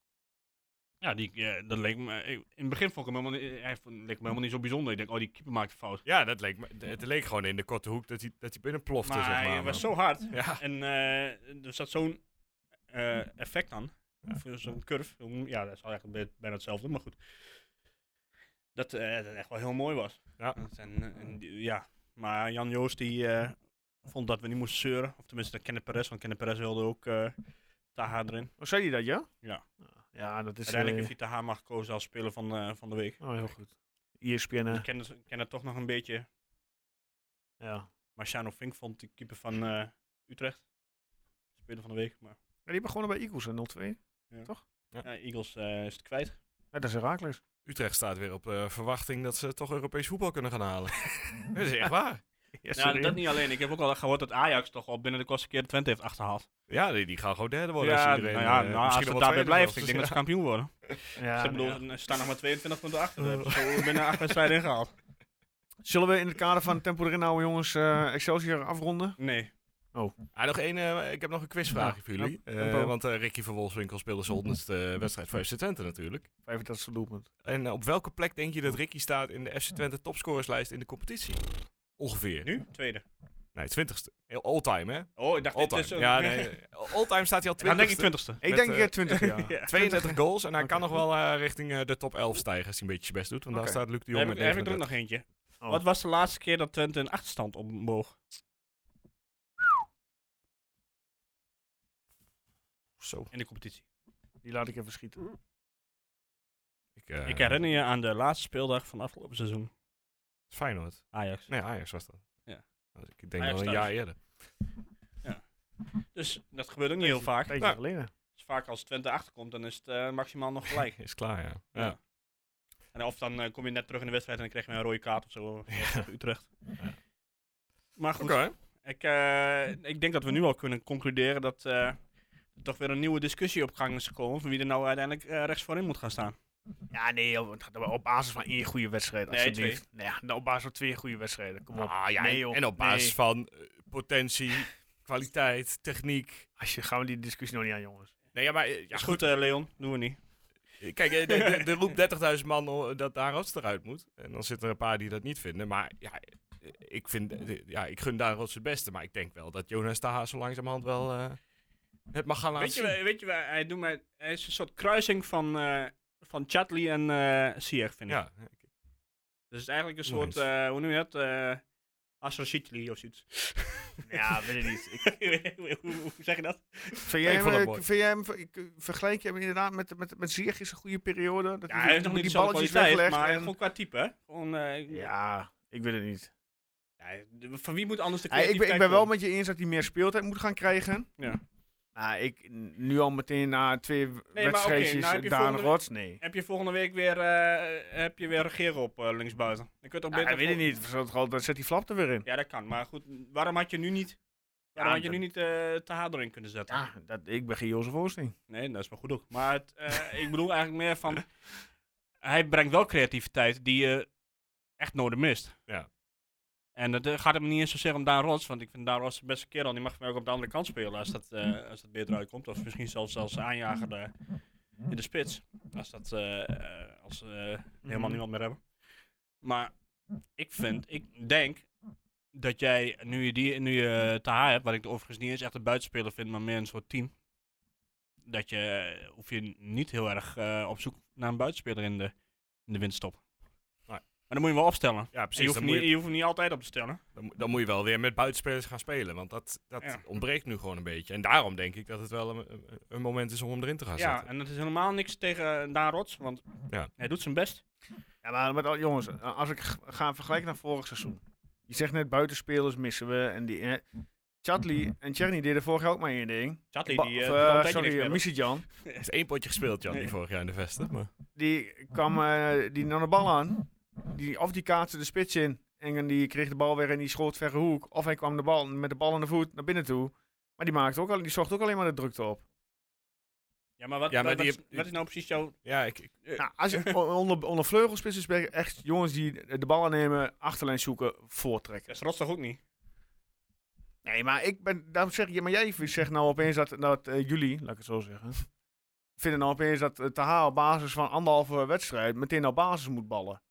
ja, die, eh, dat leek me, eh, in het begin vond ik hem helemaal, niet- hij vond- leek me helemaal niet zo bijzonder. Ik denk, oh, die keeper maakt een fout.
Ja, dat leek, me- het leek gewoon in de korte hoek dat hij, dat hij binnen plofte,
maar
zeg maar. eh,
hij was zo hard.
Ja,
En eh, er zat zo'n eh, effect aan. Of eh, zo'n curve. Hoe- Ja, dat is eigenlijk bij- bijna hetzelfde, maar goed. Dat, eh, dat echt wel heel mooi was.
Ja.
Dat En, eh, en die- ja. Maar Jan Joost die eh, vond dat we niet moesten zeuren. Of tenminste, dat kende Perez, want kende Perez wilde ook eh, Taha erin.
Oh, zei je dat, ja?
Ja.
Ja, dat is...
Uiteindelijk
eh,
heeft hij Taha maar gekozen als speler van, eh, van de week.
Oh, heel goed. ESPN,
Ik
eh,
ken het, ken het toch nog een beetje.
ja.
Marciano Fink vond de keeper van eh, Utrecht. Speler van de week. Maar
Ja, die begonnen bij Eagles in 0-2.
ja, Eagles eh, is het kwijt.
Ja, dat is Herakles.
Utrecht staat weer op eh, verwachting dat ze toch Europees voetbal kunnen gaan halen. dat is echt waar.
Ja,
nou,
sorry.
dat niet alleen. Ik heb ook al gehoord dat Ajax toch al binnen de kortste keer Twente heeft achterhaald.
Ja, die, die gaan gewoon derde worden. als iedereen,
nou ja,
eh,
nou,
misschien
als
nog
het
wel
daarbij
tweede
blijft, ik denk
wordt.
dat ze kampioen worden.
Ja,
ze bedoel,
ja.
ze staan nog maar 22 punten achter. Ze hebben zo binnen acht wedstrijden ingehaald.
Zullen we in het kader van Tempo erin houden, jongens, eh, Excelsior afronden?
Nee.
Ah, nog één, eh, ik heb nog een quizvraagje voor jullie.
Ja,
Eh,
tempo.
want eh, Ricky van Wolfswinkel speelde zijn honderdste eh, wedstrijd voor FC Twente natuurlijk.
35 doelpunt.
En eh, op welke plek denk je dat Ricky staat in de FC Twente topscorerslijst in de competitie? Ongeveer.
Nu? Tweede.
Nee, twintigste. Heel all-time, hè?
Oh, ik dacht dit is
All-time.
een...
Ja, nee. All-time staat hij al
Dan denk ik
twintigste.
twintigste.
Ik
Met,
denk
eh,
eh, 20 jaar.
Ja.
32 goals en hij
Oké.
kan nog wel eh, richting eh, de top 11 stijgen als hij een beetje zijn best doet. Want
Oké.
daar staat Luc de
Dan
Jong
heb, ik-
met
dan heb ik er
39.
nog eentje.
Oh.
Wat was de laatste keer dat Twente een achterstand omboog?
Zo.
In de competitie.
Die laat ik even schieten.
Ik, eh,
Ik herinner je aan de laatste speeldag van afgelopen seizoen.
Feyenoord.
Ajax.
Nee, Ajax was dat.
Ja.
Dus Ik denk
Ajax
wel een
thuis.
jaar eerder.
Dus dat gebeurt ook niet heel vaak.
Een tijdje
Nou,
geleden.
dus vaak als Twente achterkomt, dan is het eh, maximaal nog gelijk.
Is klaar, ja.
Ja.
ja.
En of dan eh, kom je net terug in de wedstrijd en dan krijg je een rode kaart of zo. of tegen Utrecht. Maar goed.
Oké.
Ik, eh, ik denk dat we nu al kunnen concluderen dat eh, er toch weer een nieuwe discussie op gang is gekomen. Van wie er nou uiteindelijk eh, rechts voorin moet gaan staan.
Ja, nee, joh, het gaat op basis van één goede wedstrijd.
Nee,
alsjeblieft. Nee, ja, nou, op basis van twee goede wedstrijden. Kom op.
Ah, ja,
Nee,
en-
joh.
en op basis
Nee.
van eh, potentie, kwaliteit, techniek.
Als je, gaan we die discussie nog niet aan, jongens.
Nee, ja, maar eh, ja,
is goed, eh, Leon. Doen we niet.
goed. Kijk, eh, de, de, de roept 30.000 man o- dat daar Rots eruit moet. En dan zitten er een paar die dat niet vinden. Maar ja, eh, ik, vind, eh, ja, ik gun daar Rots het beste. Maar ik denk wel dat Jonas Taha zo langzamerhand wel eh, het mag gaan laten
Weet je,
zien.
wa- weet je waar hij doet mij... Hij is een soort kruising van, eh van Chatley en eh Sieg, vind ik.
Ja,
Dus het is eigenlijk een
Nice.
soort, eh, hoe noem je dat? eh Asra Chitli of zoiets.
Ja, weet ik niet. Ik,
hoe, hoe zeg je dat?
vind jij hem,
Ik vond dat
eh,
mooi.
vind jij hem- ik, vergelijk je hem inderdaad met, met, met Ziyech is een goede periode. Dat
Ja, hij heeft nog niet die balletjes
weggelegd
maar
en-
gewoon qua type, hè? Gewoon, eh,
Ja, ik weet het niet.
ja, van wie moet anders de
Ja, ik, ben, ik
creativiteit
ben wel
komen?
met je eens dat hij meer speeltijd moet gaan krijgen.
Ja.
Maar ik nu al meteen na twee
maar oké,
wedstrijdjes
nou heb je
Daan
volgende-
Rots, nee.
Heb je volgende week weer, eh, heb je weer regeren op eh, linksbuiten? Dan kun je toch
Ja,
beter
ik weet het
voor-
niet. Zo- gewoon, Dan zet die flap er weer in.
Ja, dat kan. Maar goed, waarom had je nu niet, waarom
Ja,
had je nu
dat-
niet eh Taha erin kunnen zetten?
Ja, dat, ik ben geen Jozef Oosting.
Nee, dat is maar goed ook. Maar het, eh, ik bedoel eigenlijk meer van, hij brengt wel creativiteit die je echt nodig mist.
Ja.
En het eh, gaat hem niet eens zozeer om Daan Rots, want ik vind Daan Rots de beste kerel. Die mag voor mij ook op de andere kant spelen als dat, eh, als dat beter uitkomt. Of misschien zelfs zelfs aanjager eh, in de spits. Als, dat, eh, eh, als ze eh, helemaal niemand meer hebben. Maar ik vind, ik denk dat jij, nu je, die, nu je Taha hebt, wat ik overigens niet eens echt een buitenspeler vind, maar meer een soort team. Dat je, eh, hoef je niet heel erg eh, op zoek naar een buitenspeler in de, in de winterstop. Maar dan moet je hem wel opstellen.
ja,
En
precies.
je, hoeft
dan, moet
niet,
je,
je hoeft hem niet altijd op te stellen.
dan, moet- dan moet je wel weer met buitenspelers gaan spelen. Want dat, dat
Ja.
ontbreekt nu gewoon een beetje. En daarom denk ik dat het wel een, een- een moment is om hem erin te gaan
Ja,
zetten.
en dat is helemaal niks tegen eh, Daan Rots, want
Ja.
hij doet zijn best.
Ja, maar met al, jongens, eh, als ik g- ga vergelijken naar vorig seizoen. Je zegt net, buitenspelers missen we. En die, eh, Chatli en Cherny deden vorig jaar ook maar één ding.
Chatley,
Ba-
die...
of,
eh,
eh,
doet al een tijdje niks
sorry,
meer,
eh,
hoor.
Misijan.
Er is één potje gespeeld, Jan, die
Nee.
vorig jaar in de vesten. Maar...
Die kwam eh, die nam de bal aan. Die, of die kaatste de spits in. En die kreeg de bal weer in die schoot verre hoek. Of hij kwam de bal, met de bal aan de voet naar binnen toe. Maar die, maakte ook al, die zocht ook alleen maar de drukte op.
Ja, maar, wat,
Ja, maar
wat,
die
wat,
heb-
is, wat is nou precies jouw...
Ja, ik, ik-
Eh,
Nou, als je on- onder, onder vleugelspitsen ben je echt jongens die de bal aannemen, achterlijn zoeken, voortrekken.
Dat is Rots toch ook niet?
Nee, maar ik ben, daarom zeg je, maar jij zegt nou opeens dat, dat eh, jullie, laat ik het zo zeggen, vinden nou opeens dat eh, Taha op basis van anderhalve wedstrijd meteen op basis moet ballen.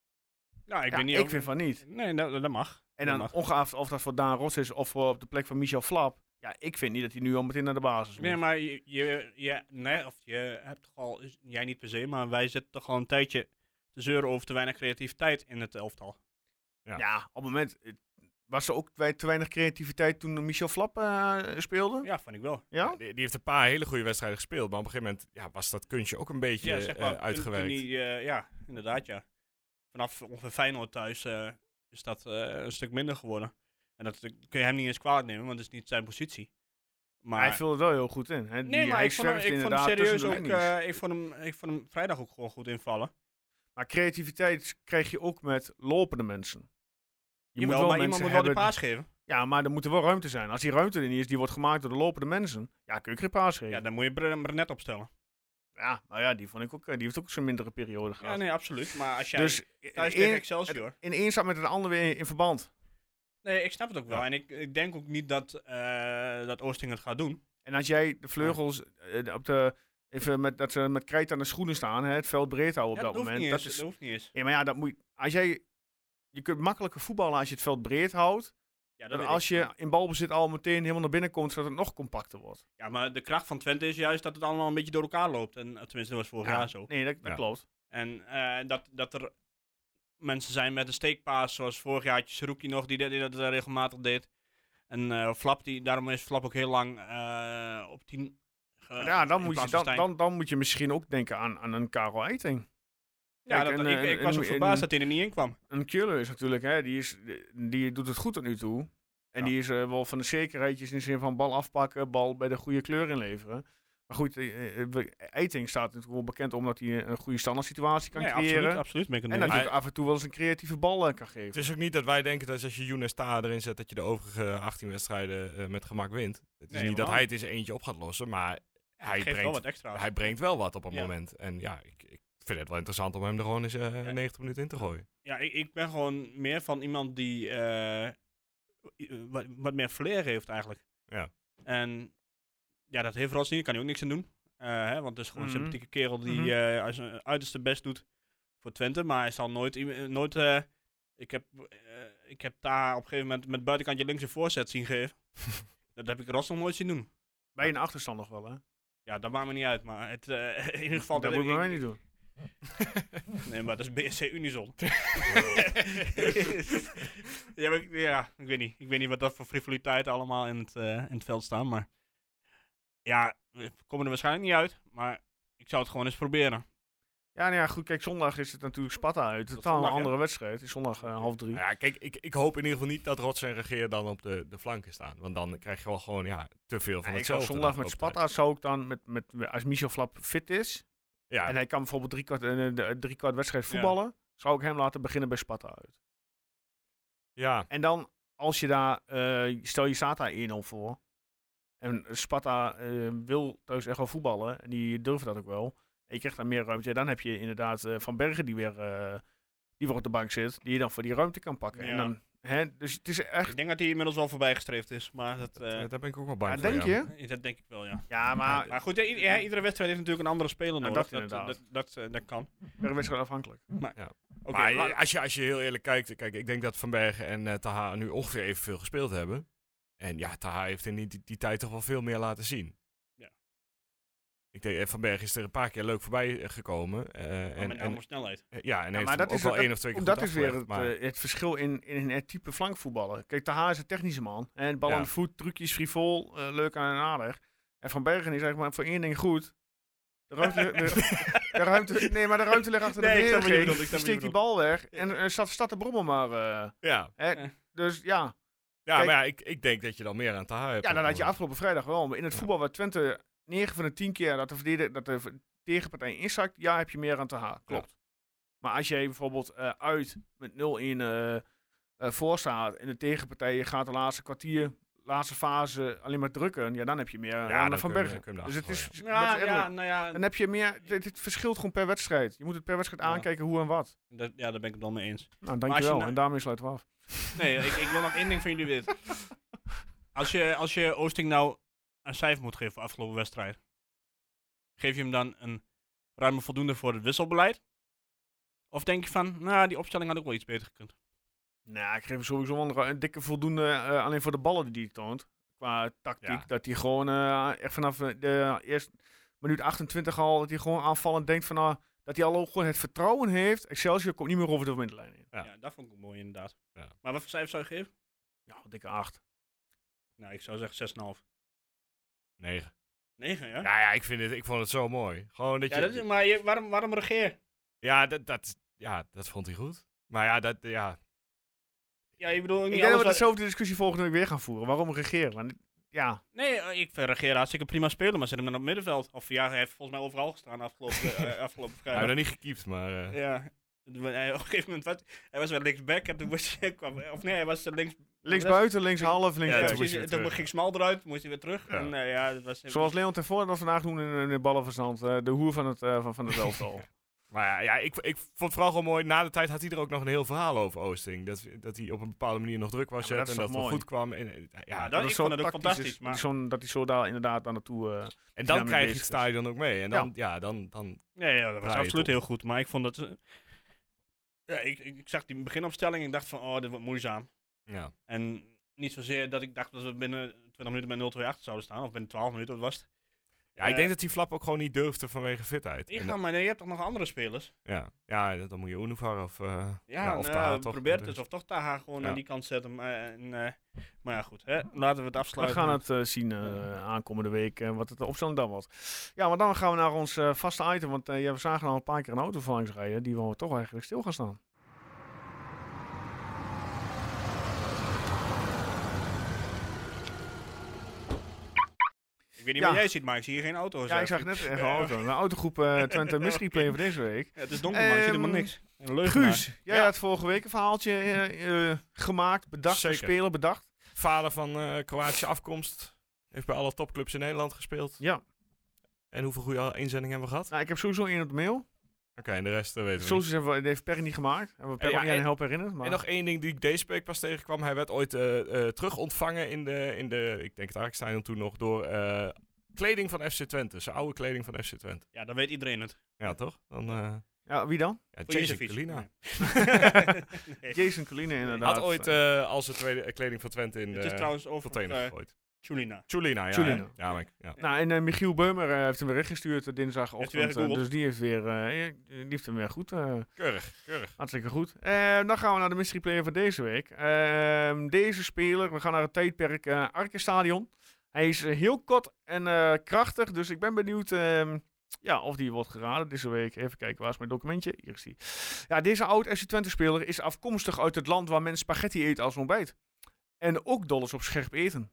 Nou, ik
Ja,
weet niet
ik
of-
vind van niet.
Nee, dat, dat mag.
En
Dat
dan,
mag.
ongeacht of dat voor Daan Rots is of voor op de plek van Michel Flap, Ja, ik vind niet dat hij nu al meteen naar de basis moet.
Nee, maar je, je, je- nee, of je hebt toch al, is- jij niet per se, maar wij zitten toch al een tijdje te zeuren over te weinig creativiteit in het elftal.
ja.
ja.
op het moment eh, was er ook wij- te weinig creativiteit toen Michel Flap eh, speelde. Ja?
Ja, vind ik wel.
Die, die heeft een paar hele goede wedstrijden gespeeld, maar op een gegeven moment ja, was dat kunstje ook een beetje
Ja, zeg maar,
eh,
toen-
uitgewerkt.
toen die, eh, ja, inderdaad, ja. Vanaf ongeveer Feyenoord thuis eh, is dat eh, een stuk minder geworden. En dat eh, kun je hem niet eens kwaad nemen, want het is niet zijn positie. Maar,
Hij viel er wel heel goed in. Hè?
nee,
Die-
maar
hij
ik vond hem,
zwerft
ik vond hem
inderdaad
serieus
tussen de
ook,
linies.
eh, ik, vond hem, ik vond hem vrijdag ook gewoon goed invallen.
Maar creativiteit krijg je ook met lopende mensen. Je
Jawel, maar iemand moet wel die paas geven.
Ja, maar er moet er wel ruimte zijn. Als die ruimte er niet is, die wordt gemaakt door de lopende mensen. Ja, kun je geen paas geven.
Ja,
Ja,
dan moet je Bre- Brenet opstellen.
maar ja, die, vond ik ook, eh, die heeft ook zijn mindere periode gehad.
Ja, nee, absoluut. Maar als jij
Dus
thuis
in,
tegen
in,
Excelsior...
in één staat met een ander weer in, in verband.
Nee, ik snap het ook wel. En ik, ik denk ook niet dat, eh, dat Oosting het gaat doen.
En als jij de vleugels eh, op de, even met, dat ze met krijt aan de schoenen staan, hè, het veld breed houden
Ja,
op dat,
hoeft
moment.
niet
Dat
eens,
is,
dat hoeft niet eens.
ja, maar ja, dat moet, als jij, je kunt makkelijker voetballen als je het veld breed houdt.
Ja, dat
Dan
weet
als
ik.
je in balbezit al meteen helemaal naar binnen komt, zodat het nog compacter wordt.
Ja, maar de kracht van Twente is juist dat het allemaal een beetje door elkaar loopt. En, eh, tenminste, dat was vorig
Ja,
jaar zo.
Nee, dat, dat
Ja.
klopt.
En eh, dat, dat er mensen zijn met een steekpaas, zoals vorig jaar had je Saruki nog, die, dat- die dat eh, regelmatig deed. En eh, Flap, die, daarom is Flap ook heel lang eh, op 10. ge-
ja, dan
in
moet, je,
plaats van
dan,
Stijn.
dan, dan moet je misschien ook denken aan, aan een Karel Eiting.
ja,
kijk,
dat,
en,
ik,
eh,
ik was
en-
ook verbaasd
en-
dat hij er niet in kwam.
Een killer is natuurlijk, hè, die, is, die doet het goed tot nu toe. En
Ja.
die is eh, wel van de zekerheidjes in de zin van bal afpakken, bal bij de goede kleur inleveren. Maar goed, eh, eh, we- Eiting staat natuurlijk wel bekend omdat hij een goede standaard situatie kan
Nee,
creëren.
absoluut, absoluut. ben ik het
En
mee eens.
natuurlijk af en toe wel eens een creatieve bal eh, kan
Het
geven.
is ook niet dat wij denken dat als je Younes Ta erin zet, dat je de overige 18 wedstrijden eh, met gemak wint. Het is
Nee,
niet dat
helemaal
hij het in zijn eentje op gaat lossen, maar hij,
geeft wel
brengt,
wat extra's.
hij brengt wel wat op een
Ja.
moment. En ja, ik, ik vind het wel interessant om hem er gewoon eens eh, 90 minuten in te gooien.
Ja, ik, ik ben gewoon meer van iemand die eh, i- wat, wat meer flair heeft eigenlijk.
Ja.
En ja, dat heeft Ross niet, daar kan hij ook niks aan doen. Eh, hè, want het is gewoon
Mhm.
een sympathieke kerel die
Mhm.
eh, als zijn uiterste best doet voor Twente. Maar hij zal nooit... iem- eh, nooit eh, ik, heb, eh, ik heb daar op een gegeven moment met buitenkantje links een voorzet zien geven. dat heb ik Ross nog nooit zien doen.
Bij een achterstand nog wel, hè?
Ja, dat maakt me niet uit. Maar het, eh, in ieder geval...
Dat moet
ik-
ik bij mij niet doen.
Nee, maar dat is BSC Unison. ja, maar ik- ja, ik weet niet. Ik weet niet wat dat voor frivoliteiten allemaal in het, eh, in het veld staan. Maar ja, we komen er waarschijnlijk niet uit. Maar ik zou het gewoon eens proberen.
Ja, nou ja, goed, kijk, zondag is het natuurlijk Sparta uit. Totaal een
zondag, hè?
andere wedstrijd. Het is zondag eh, half drie.
Nou Ja, kijk, ik, ik hoop in ieder geval niet dat Rots en Regeer dan op de, de flanken staan. Want dan krijg je wel gewoon ja, te veel van
Ja, ik zou
hetzelfde.
zondag
de
met
afgelopen
Sparta zou ik dan, met, met, als Michel Flap fit is,
tijd. Ja,
en hij kan bijvoorbeeld drie kwart, eh, de- drie kwart wedstrijd voetballen, zou ik hem laten beginnen bij Sparta uit.
ja,
En dan, als je daar, eh, stel je staat daar 1-0 voor, en Sparta eh, wil thuis echt wel voetballen, en die durven dat ook wel, en je krijgt daar meer ruimte, dan heb je inderdaad eh, Van Bergen die weer, eh, die weer op de bank zit, die je dan voor die ruimte kan pakken. En
Ja.
dan, hè, dus het is echt,
Ik denk dat hij inmiddels wel voorbij gestreefd is. Maar dat, eh,
daar ben ik ook wel
ja,
bang voor.
denk
ja.
je?
dat denk ik wel, ja.
Ja, maar
Maar goed, i- i- ja, iedere wedstrijd heeft natuurlijk een andere speler
Nou,
nodig.
dat
dat,
inderdaad.
dat, dat, eh, dat kan.
per wedstrijd afhankelijk.
Oké,
maar
la-
eh, als je, als je heel eerlijk kijkt, kijk, ik denk dat Van Bergen en eh, Taha nu ongeveer evenveel gespeeld hebben. En ja, Taha heeft in die, die, die tijd toch wel veel meer laten zien.
Ja.
Ik denk, eh, Van Bergen is er een paar keer leuk voorbij eh, gekomen. eh,
nou maar
en,
met
en,
andere snelheid.
eh, ja, en
Ja,
heeft
maar
hem
dat
ook
is,
wel
dat,
één of twee keer
dat
goed
is weer het,
afgelegd, maar-
eh, het verschil in, in het type flankvoetballen. Kijk, Taha is een technische man. En bal
Ja.
aan de voet, trucjes, frivol, eh, leuk aan en aardig. En Van Bergen is zeg maar voor één ding goed. De ruimte, de, de ruimte, nee, maar de ruimte ligt achter
Nee,
de
ik snap wat je
verdediging.
bedoelt, ik
Die
snap wat
steekt
je
die bal weg en eh, staat staat de brommel maar. eh.
ja,
Hè,
Eh.
Dus ja.
ja
Kijk-
maar ja, ik, ik denk dat je dan meer aan Taha hebt.
ja, dat had je
af.
afgelopen vrijdag wel. Maar in het voetbal waar Twente 9 van de 10 keer dat de, verdediger- dat de ver- tegenpartij inzakt, ja, heb je meer aan Taha. Klopt. Maar als jij bijvoorbeeld eh, uit met 0-1 eh, eh, voor staat en de tegenpartij gaat de laatste kwartier, laatste fase alleen maar drukken, ja, dan heb je meer
Ja,
aan
dan
Van
kun je-
Bergen.
kun je hem
Dus het is,
erachter
dat
Ja,
is eerlijk.
ja, nou ja,
Dan heb je meer, dit, dit verschilt gewoon per wedstrijd. Je moet het per wedstrijd
Ja.
aankijken hoe en wat.
dat, ja, daar ben ik het dan mee eens.
Nou,
als je
dankjewel.
nou-
En daarmee sluiten we af.
Nee, ik, ik wil nog één ding van jullie weten. Als je, als je Oosting nou een cijfer moet geven voor afgelopen wedstrijd, geef je hem dan een ruime voldoende voor het wisselbeleid? Of denk je van, nou, die opstelling had ook wel iets beter gekund?
Nou, ik geef hem sowieso wel een, een dikke voldoende eh, alleen voor de ballen die hij toont. qua tactiek.
Ja.
Dat hij gewoon eh, echt vanaf eh, de eerste minuut 28 al, dat hij gewoon aanvallend denkt van, ah, dat hij al ook gewoon het vertrouwen heeft. Excelsior komt niet meer over de middenlijn in.
Ja.
Ja.
dat vond ik mooi inderdaad.
Ja.
Maar wat voor cijfer zou je geven?
Ja, dikke 8.
Nou, ik zou zeggen 6,5.
9.
9, ja?
Nou ja, ik, vind het, ik vond het zo mooi. Gewoon dat
Ja,
je...
dat is, maar je, waarom, waarom regeer?
ja, dat, dat, ja, dat vond hij goed. Maar ja, dat, ja,
Ja, ik bedoel,
Ik
niet
denk dat
alles
we
wat-
dezelfde discussie volgende week weer gaan voeren. Waarom regeren? Want, ja,
Nee, eh, ik vind regeer hartstikke prima spelen, maar zet hem dan op het middenveld. Of ja, hij heeft volgens mij overal gestaan afgelopen, eh, afgelopen
hij heeft
vrijdag.
nog niet gekiept, maar... eh,
Ja. Het wa- hij- Op een gegeven moment was hij was wel linksback en toen was hij, kwam, of nee, hij was links...
linksbuiten, linkshalf,
Ja,
links.
toen
precies,
moest hij
toen
weer terug.
ging Smal eruit, toen moest hij weer terug.
Ja.
En, eh, ja, dat was,
Zoals Leon ten Voorde dat vandaag doen in, in de ballenverstand. eh, de hoer van het, eh, van, van het elftal.
Maar ja, ja ik, ik vond het vooral gewoon mooi. Na de tijd had hij er ook nog een heel verhaal over Oosting. Dat, dat hij op een bepaalde manier nog druk
Ja,
was
maar dat
en
is
dat
toch
het
mooi?
goed kwam. En, eh, ja,
Ja, dat-
is
ik
zo'n
vond het ook
tactisch is,
fantastisch, maar-
zo'n- dat hij zo daar inderdaad aan naartoe... eh,
en
Ja,
dan
mee
krijg je
bezig
het
is.
stadion ook mee. En dan, ja. dan, dan
Nee, ja, dat was
Draaien,
absoluut
toch?
heel goed. Maar ik vond dat. eh, ja, ik, ik, ik zag die beginopstelling en ik dacht van, oh, dit wordt moeizaam.
ja.
En niet zozeer dat ik dacht dat we binnen 20 minuten met 0-2 achter zouden staan. Of binnen 12 minuten, wat was het?
ja, ik
Eh,
denk dat die flap ook gewoon niet durfde vanwege fitheid.
Ik
En
ga, maar nee, je hebt toch nog andere spelers?
dat- ja, ja, dat- dan moet je Unuvar of, eh ja,
Ja,
of
nou,
Taha toch. dus-
probeer het eens. Of toch Taha gewoon
Ja.
aan die kant zetten. Maar, eh, en, eh, maar ja, goed. Hè? Laten we het
We
afsluiten.
gaan het eh, zien eh, aankomende week, eh, wat het de opstelling dan was. Ja, maar dan gaan we naar ons eh, vaste item, want eh, ja, we zagen al een paar keer een auto van langs rijden, die we toch eigenlijk stil gaan staan.
Ik weet niet
Ja.
wat jij ziet, maar ik zie hier geen auto's. eh.
Ja, ik zag
eigenlijk.
net even een auto. Een autogroep eh, Twente Mystery Play van deze week.
Ja, het is donker, maar ik zie helemaal
Ehm,
niks. Een leugenaar.
Guus, jij had vorige week een verhaaltje eh, eh, gemaakt, bedacht,
Zeker.
spelen bedacht.
Vader van eh Kroatische afkomst. Heeft bij alle topclubs in Nederland gespeeld.
Ja,
En hoeveel goede inzendingen hebben we gehad? Oké,
nou, ik heb sowieso één op de mail.
en de rest eh, weten we niet.
Soms hebben we, die heeft Perry niet gemaakt. Hebben we Perry
ja,
niet aan
en-
helpen herinneren. Maar
En nog één ding die ik deze week pas tegenkwam. Hij werd ooit eh, eh, terug ontvangen in de, in de, ik denk het Arkstadion toen nog, door eh, kleding van FC Twente. Zijn oude kleding van FC Twente.
Ja, dan weet iedereen het.
Ja, toch? Dan, eh
ja, wie dan?
ja,
Voor
Jason
Jezevic.
Kalina.
Nee. Nee.
Jason Coline inderdaad.
Had ooit eh al zijn tweede eh, kleding van Twente in
Het is
de
trouwens over
container
eh,
gegooid.
Chulina.
Chulina, ja.
Chulina.
hè? Ja, maar ik- ja.
Nou, en eh, Michiel Beumer eh, heeft hem weer rechtgestuurd eh,
Heeft hij weer
dinsdagochtend. eh,
gegoogeld?
dus die heeft, weer, eh, eh, die heeft hem weer goed. eh,
Keurig, keurig.
hartstikke goed. Eh, dan gaan we naar de mystery player van deze week. Ehm, deze speler, we gaan naar het tijdperk eh Stadion. Hij is eh, heel kort en eh, krachtig, dus ik ben benieuwd ehm, ja, of die wordt geraden deze week. Even kijken, waar is mijn documentje? Hier is die. Ja, deze oud FC Twente speler is afkomstig uit het land waar men spaghetti eet als ontbijt. En ook dol is op scherp eten.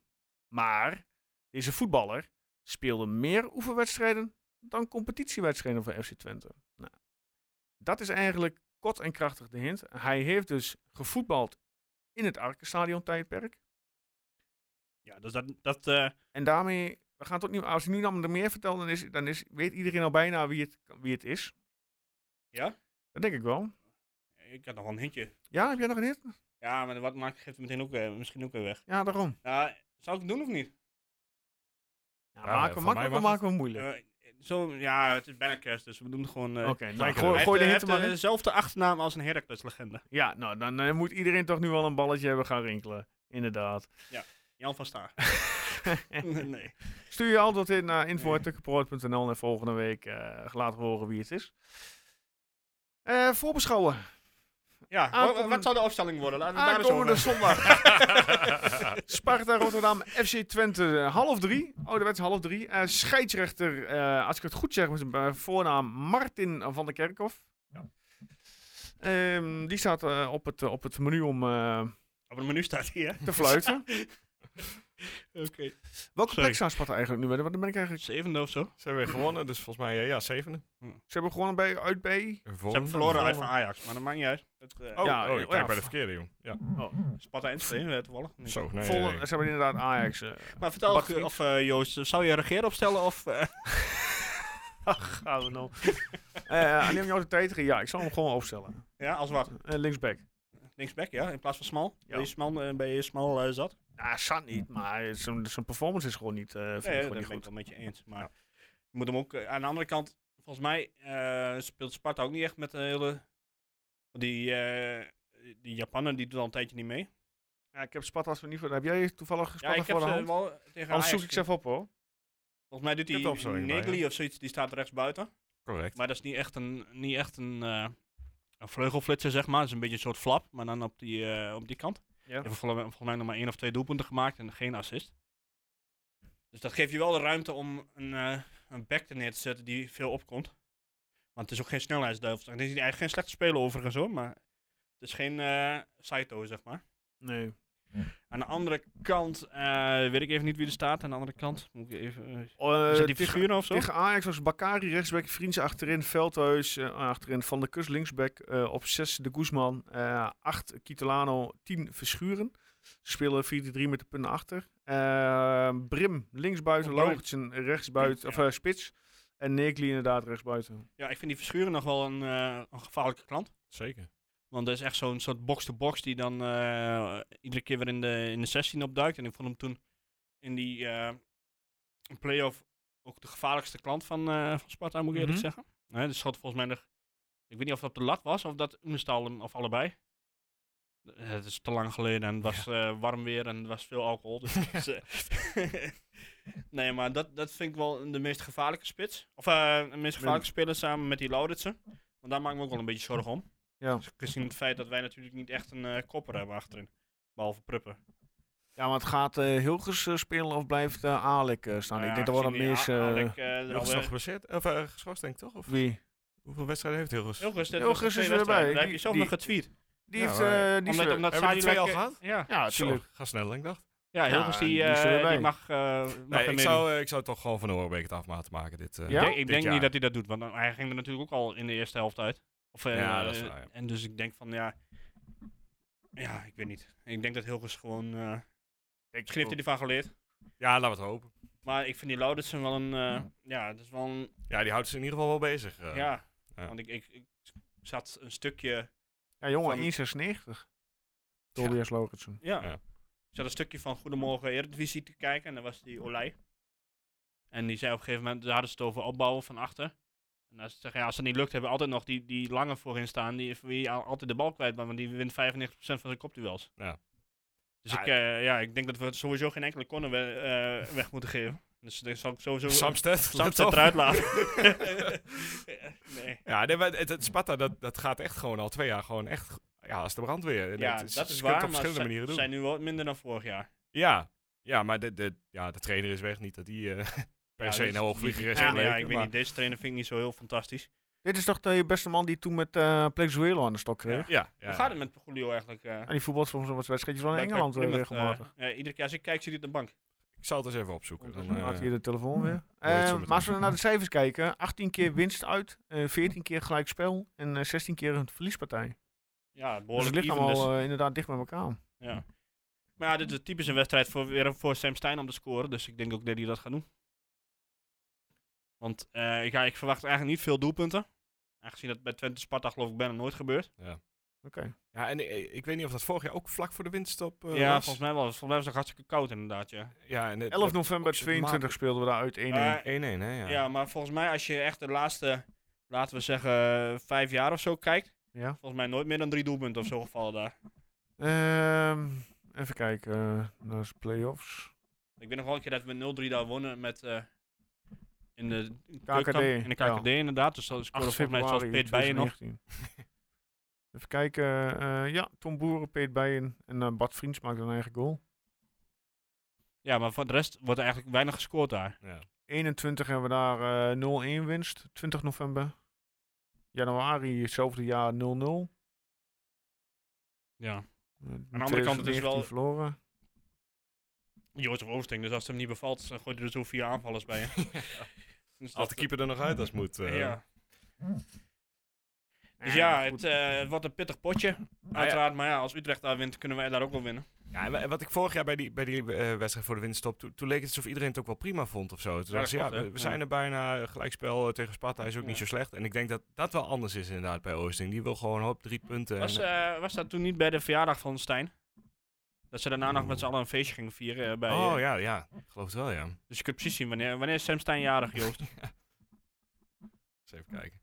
Maar deze voetballer speelde meer oefenwedstrijden dan competitiewedstrijden voor FC Twente. Nou, dat is eigenlijk kort en krachtig de hint. Hij heeft dus gevoetbald in het Arkenstadion tijdperk.
Ja, dus dat, dat eh,
En daarmee, we gaan het opnieuw, als ik nu namelijk meer vertel, dan, is, dan is, weet iedereen al bijna wie het, wie het is.
Ja?
Dat denk ik wel.
ik had nog wel een hintje.
Ja, heb jij nog een hint?
Ja, maar wat maakt geeft het meteen ook weer, misschien ook weer weg.
Ja, daarom.
Nou, zou ik het doen of niet?
Ja,
Ja,
maken we
van
makkelijk
mij
of
mag
maken we moeilijk?
Eh, zo, ja, het is bijna kerst, dus we doen het gewoon... eh
Oké, nou,
maken we
gooi,
wel.
gooi de
hij
hint
heeft
er
eh,
maar in.
dezelfde achternaam als een Heracles-legende.
Ja, nou, dan eh, moet iedereen toch nu wel een balletje hebben gaan rinkelen. Inderdaad.
Jan van Staar. nee.
Stuur je antwoord in naar info.tukkenproot.nl en volgende week eh, laten we horen wie het is. Eh, voorbeschouwen.
Ja, wa- wa-
Aankomende-
wat zou de opstelling worden? Laten we daar eens
Aankomende
over.
zondag. Sparta Rotterdam, FC Twente, eh, half drie. Ouderwets half drie. Eh, scheidsrechter, eh, als ik het goed zeg, met zijn eh, voornaam Martin van der Kerkhof. Ehm, die staat eh, op, het, op het menu om eh,
Op het menu staat hier.
te fluiten.
Oké.
Welke
Sorry.
plek staat Sparta eigenlijk nu? bij? Want dan ben ik eigenlijk...
Zevende of zo.
Ze hebben weer gewonnen, dus volgens mij, eh, ja, zevende.
Ze hebben gewoon bij, uit bij...
Ze
Ze hebben verloren uit van Ajax, maar dat maakt niet uit. Het, eh,
Oh,
Ja,
ja, oh, ik
oh, ja,
kijk bij de
v-
verkeerde, jong. Ja.
Sparta en Twente, eh, toevallig. Nee.
Zo, nee,
volle-
nee, nee.
Ze hebben inderdaad Ajax. eh.
Maar vertel,
Bart Vriends.
of, eh, Joost, zou je regeer opstellen of... eh,
Gaan we nou. Eh, Alleen om jou de tijd te geven, ja, ik zal hem gewoon opstellen.
ja, als wat?
Eh, linksback.
Linksback, ja, in plaats van smal.
Ja.
Ben je smal, eh, ben je smal eh, zat?
Nou, San niet, maar zijn zijn performance is gewoon niet, eh, vind ik gewoon
Nee, dat
niet
ben ik
goed.
wel met je eens. Maar je moet hem ook eh, aan de andere kant, volgens mij eh, speelt Sparta ook niet eh, echt met de hele. Die, eh die Japanen die doen al een tijdje niet mee.
Ja, ik heb Spartas nog niet voor. Heb jij toevallig
Ja,
Sparta
ik
voor
heb
de
ze
hand?
wel tegen
Anders
Ajax.
zoek ik ze even op hoor.
Volgens mij doet
Ik heb het
die
opgeschreven, maar,
Negli of zoiets, die staat rechts buiten.
Correct.
Maar dat is niet echt een, niet echt een, eh, een vleugelflitser, zeg maar. Dat is een beetje een soort flap, maar dan op die, eh, op die kant.
Ja.
Hij heeft vol- volgens mij nog maar één of twee doelpunten gemaakt en geen assist. Dus dat geeft je wel de ruimte om een, eh een back er neer te zetten die veel opkomt. Want het is ook geen snelheidsduivel. Het is niet- eigenlijk geen slechte speler overigens hoor, maar het is geen eh Saito, zeg maar.
Nee.
Aan de andere kant, eh, weet ik even niet wie er staat. Aan de andere kant, moet ik even... eh,
Eh,
is dat die
tegen-
figuren of zo?
Tegen Ajax was Bakari rechtsback, Vriends achterin, Veldhuis eh, achterin, Van der Kus linksback, eh, op 6 de Guzman, eh 8 Kitolano, 10 Verschuren. Ze spelen 4-3 met de punten achter. Eh, Brim linksbuiten,
Oh, Brim.
Lauritsen rechtsbuiten, of eh, spits. En Negli inderdaad rechtsbuiten.
Ja, ik vind die Verschuren nog wel een, eh, een gevaarlijke klant.
Zeker.
Want dat is echt zo'n soort box-to-box die dan eh, iedere keer weer in de, in de 16 opduikt. En ik vond hem toen in die eh, play-off ook de gevaarlijkste klant van, eh, van Sparta, moet ik eerlijk
Mhm.
zeggen. Nee, dus schot volgens mij nog... Ik weet niet of dat op de lat was of dat Unestal hem, of allebei. Eh, Het is te lang geleden en het was eh, warm weer en er was veel alcohol. Dus het is, eh, nee, maar dat, dat vind ik wel de meest gevaarlijke spits. Of eh, de meest gevaarlijke speler samen met die Lauritsen. Want daar maak ik me ook wel een beetje zorgen om.
Ja.
Dus Gezien het feit dat wij natuurlijk niet echt een eh, kopper hebben achterin. Behalve Pruppen.
Ja, maar het gaat eh Hilgers eh, spelen of blijft eh, Alik eh, staan?
Nou ja,
ik denk dat wel een
gezien die
mis...
A-
eh,
Alec, eh, er
Hilgers is nog
alweer-
geblesseerd? Of eh, geschorst denk ik toch? Of
wie?
hoeveel wedstrijden heeft Hilgers?
Hilgers, dit
Hilgers
was de
is
twee
er weer bij.
wedstrijden. Daar heb je
Die-
zelf
die-
nog getweet.
Die
Ja,
heeft...
maar-
eh, die
Omdat,
is-
omdat
Hebben we
Sadilek,
die twee al
eh,
gehad?
Ja,
ja,
Zo,
natuurlijk.
ga sneller dan ik dacht.
ja Hilgers
Ja,
die,
die is er
eh,
weer bij.
die mag, eh, mag er
Nee, ik,
mee doen.
zou, eh, ik zou toch gewoon van de Hoorbeek het afmaten maken. Dit, eh,
Ja?
Ik denk, ik
dit
denk
jaar.
niet dat hij dat doet, want hij ging er natuurlijk ook al in de eerste helft uit. Of, eh,
Ja, dat is
eh,
waar, ja.
En dus ik denk van, ja... Ja, ik weet niet. Ik denk dat Hilgers gewoon... eh misschien heeft hij ervan geleerd.
Ja, laten we het hopen.
Maar ik vind die Laudersen wel een... eh, ja, dat is wel een
Ja, die houdt ze in ieder geval wel bezig. eh.
Ja,
Ja.
want ik, ik, ik zat een stukje,
Ja, jongen,
Van-
1,96. Tobias Lauritsen.
ja,
Ja.
Ik zat een stukje van Goedemorgen Eredivisie te kijken en daar was die Olij. En die zei op een gegeven moment, daar hadden ze het over opbouwen van achter. En dan zeggen, ja, als dat niet lukt, hebben we altijd nog die, die lange voorin staan, die voor wie al- altijd de bal kwijt bent, want die wint 95% van zijn kopduels.
Ja.
Dus
Ja,
ik, eh, ja, ik denk dat we sowieso geen enkele corner we- eh, weg moeten geven. Dus dat zal ik sowieso
Samsted. let
Samsted
op.
eruit laten. nee.
Ja, nee, maar het, het Sparta, dat, dat gaat echt gewoon al twee jaar gewoon echt... Ja, als de brandweer.
Ja,
Het
dat,
ze
is
kunnen
waar,
het
maar
op verschillende
ze-
manieren
ze
doen.
zijn nu wel minder dan vorig jaar.
Ja, ja maar de, de, ja, de trainer is weg. Niet dat die eh, per
Ja,
se
dus
een hoogvlieger is.
Ja,
en
maar ja,
leuk,
ik weet
maar-
niet, deze trainer vind ik niet zo heel fantastisch.
Dit is toch de beste man die toen met eh Plexuelo aan de stok kreeg?
Ja, ja.
Hoe gaat het met Julio eigenlijk? eh?
En die voetbalt soms nog wat wedstrijdjes van
Bij
Engeland eh,
Plymouth,
regelmatig.
eh, ja, iedere keer als ik kijk, zit hij op de bank.
Ik zal het eens even opzoeken.
Dan
Dan, eh,
had hij de telefoon weer.
hoor je het
Eh,
zo
maar
meteen.
als we naar de cijfers kijken, 18 keer winst uit, eh 14 keer gelijk spel en eh, 16 keer een verliespartij.
Ja,
Dus het
behoorlijk
ligt
even dus.
allemaal eh, inderdaad dicht bij elkaar.
ja. Maar ja, dit is typisch een wedstrijd voor, weer voor Sam Stein om te scoren. Dus ik denk ook dat hij dat gaat doen. Want eh, ik, ja, ik verwacht eigenlijk niet veel doelpunten. Aangezien dat bij Twente Sparta geloof ik bijna nooit gebeurt.
Oké.
ja, en eh, ik weet niet of dat vorig jaar ook vlak voor de winststop eh,
ja,
was.
volgens mij wel. Volgens mij was het hartstikke koud inderdaad, ja.
Ja, en het-
11 november
Op z'n
22
maandag.
speelden we daar uit 1-1.
Eh,
1-1, hè? Ja.
Ja. maar volgens mij als je echt de laatste, laten we zeggen, vijf jaar of zo kijkt,
ja.
volgens mij nooit meer dan drie doelpunten of zo gevallen daar.
Ehm, even kijken, eh dat is playoffs.
Ik weet nog wel een keer dat we 0-3 daar wonnen met, eh, in de
KKD.
in de KKD inderdaad, dus dat scoorde
8
volgens mij zelfs
februari
Peet Bijen nog.
2019. Even kijken, eh, ja, Tom Boeren, Peet Bijen en eh, Bart Vriends maakt een eigen goal.
Ja, maar voor de rest wordt er eigenlijk weinig gescoord daar.
Ja.
21 hebben we daar eh 0-1 winst, 20 november. Januari hetzelfde jaar 0-0. Aan
Ja. andere kant, het is wel-
Eh, verloren.
Jozef Oosting, dus als het hem niet bevalt, dan gooit hij er zo vier aanvallers bij. hè. dus
Haalt de keeper er nog uit als het moet. eh.
Ja. Dus
Eh,
ja,
goed.
het eh, wordt een pittig potje, uiteraard. Maar ja, als Utrecht daar wint, kunnen wij daar ook wel winnen.
Ja, en wa- en wat ik vorig jaar bij die, bij die eh, wedstrijd voor de winststop, toen- toen leek het alsof iedereen het ook wel prima vond of zo. Toen
Ja,
dachten ze,
dat
ja,
klopt, hè.
we, we
Ja.
zijn er bijna, eh, gelijkspel eh, tegen Sparta is ook
Ja.
niet zo slecht. En ik denk dat dat wel anders is inderdaad bij Oosting. Die wil gewoon op drie punten.
Was,
en,
eh, was dat toen niet bij de verjaardag van Stijn? Dat ze daarna nog met z'n allen een feestje gingen vieren. eh, bij, eh,
oh ja, ja, ik geloof het wel ja. Eens
Dus je kunt precies zien wanneer, wanneer is Sam Stijn jarig, Joost.
even kijken.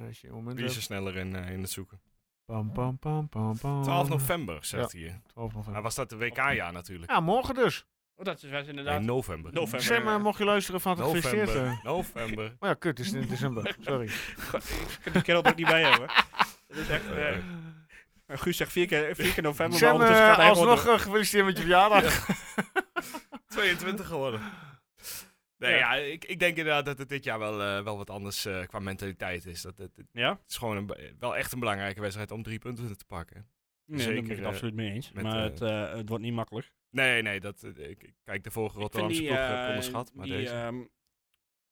Eh, als je een moment
Wie is er
hebt.
sneller in, eh, in het zoeken?
Pam, pam, pam, pam, pam.
12 november, zegt hij.
12
Maar
Ah,
november.
was dat de WK-jaar natuurlijk?
Ja, morgen dus.
Oh, dat is was
Nee, eh,
inderdaad.
november.
november.
Zeg maar, mocht je luisteren van het gefeliciteerd.
November.
eh.
November.
Maar ja, kut, het is in december. Sorry.
Ik heb die kerel er ook niet bij hebben. Dat is echt. eh, Guus zegt vier keer, vier keer november.
Sam,
maar ondertussen
eh,
gaat hij gewoon
alsnog eh, gefeliciteerd met je verjaardag.
22 geworden. Nee, ja, ik, ik denk inderdaad dat het dit jaar wel, eh, wel wat anders eh, qua mentaliteit is. Dat, het, het
door. Ja?
is gewoon een be- wel echt een belangrijke wedstrijd om drie punten te pakken.
Nee, daar ben ik
Zeker,
het
eh,
absoluut mee eens.
met,
maar
eh,
het, eh, het wordt niet makkelijk.
Nee, nee, dat, eh, ik, ik kijk de vorige
Ik vind
Rotterdamse
die,
ploeg
eh,
eh, onderschat. Maar
die,
deze.
ehm,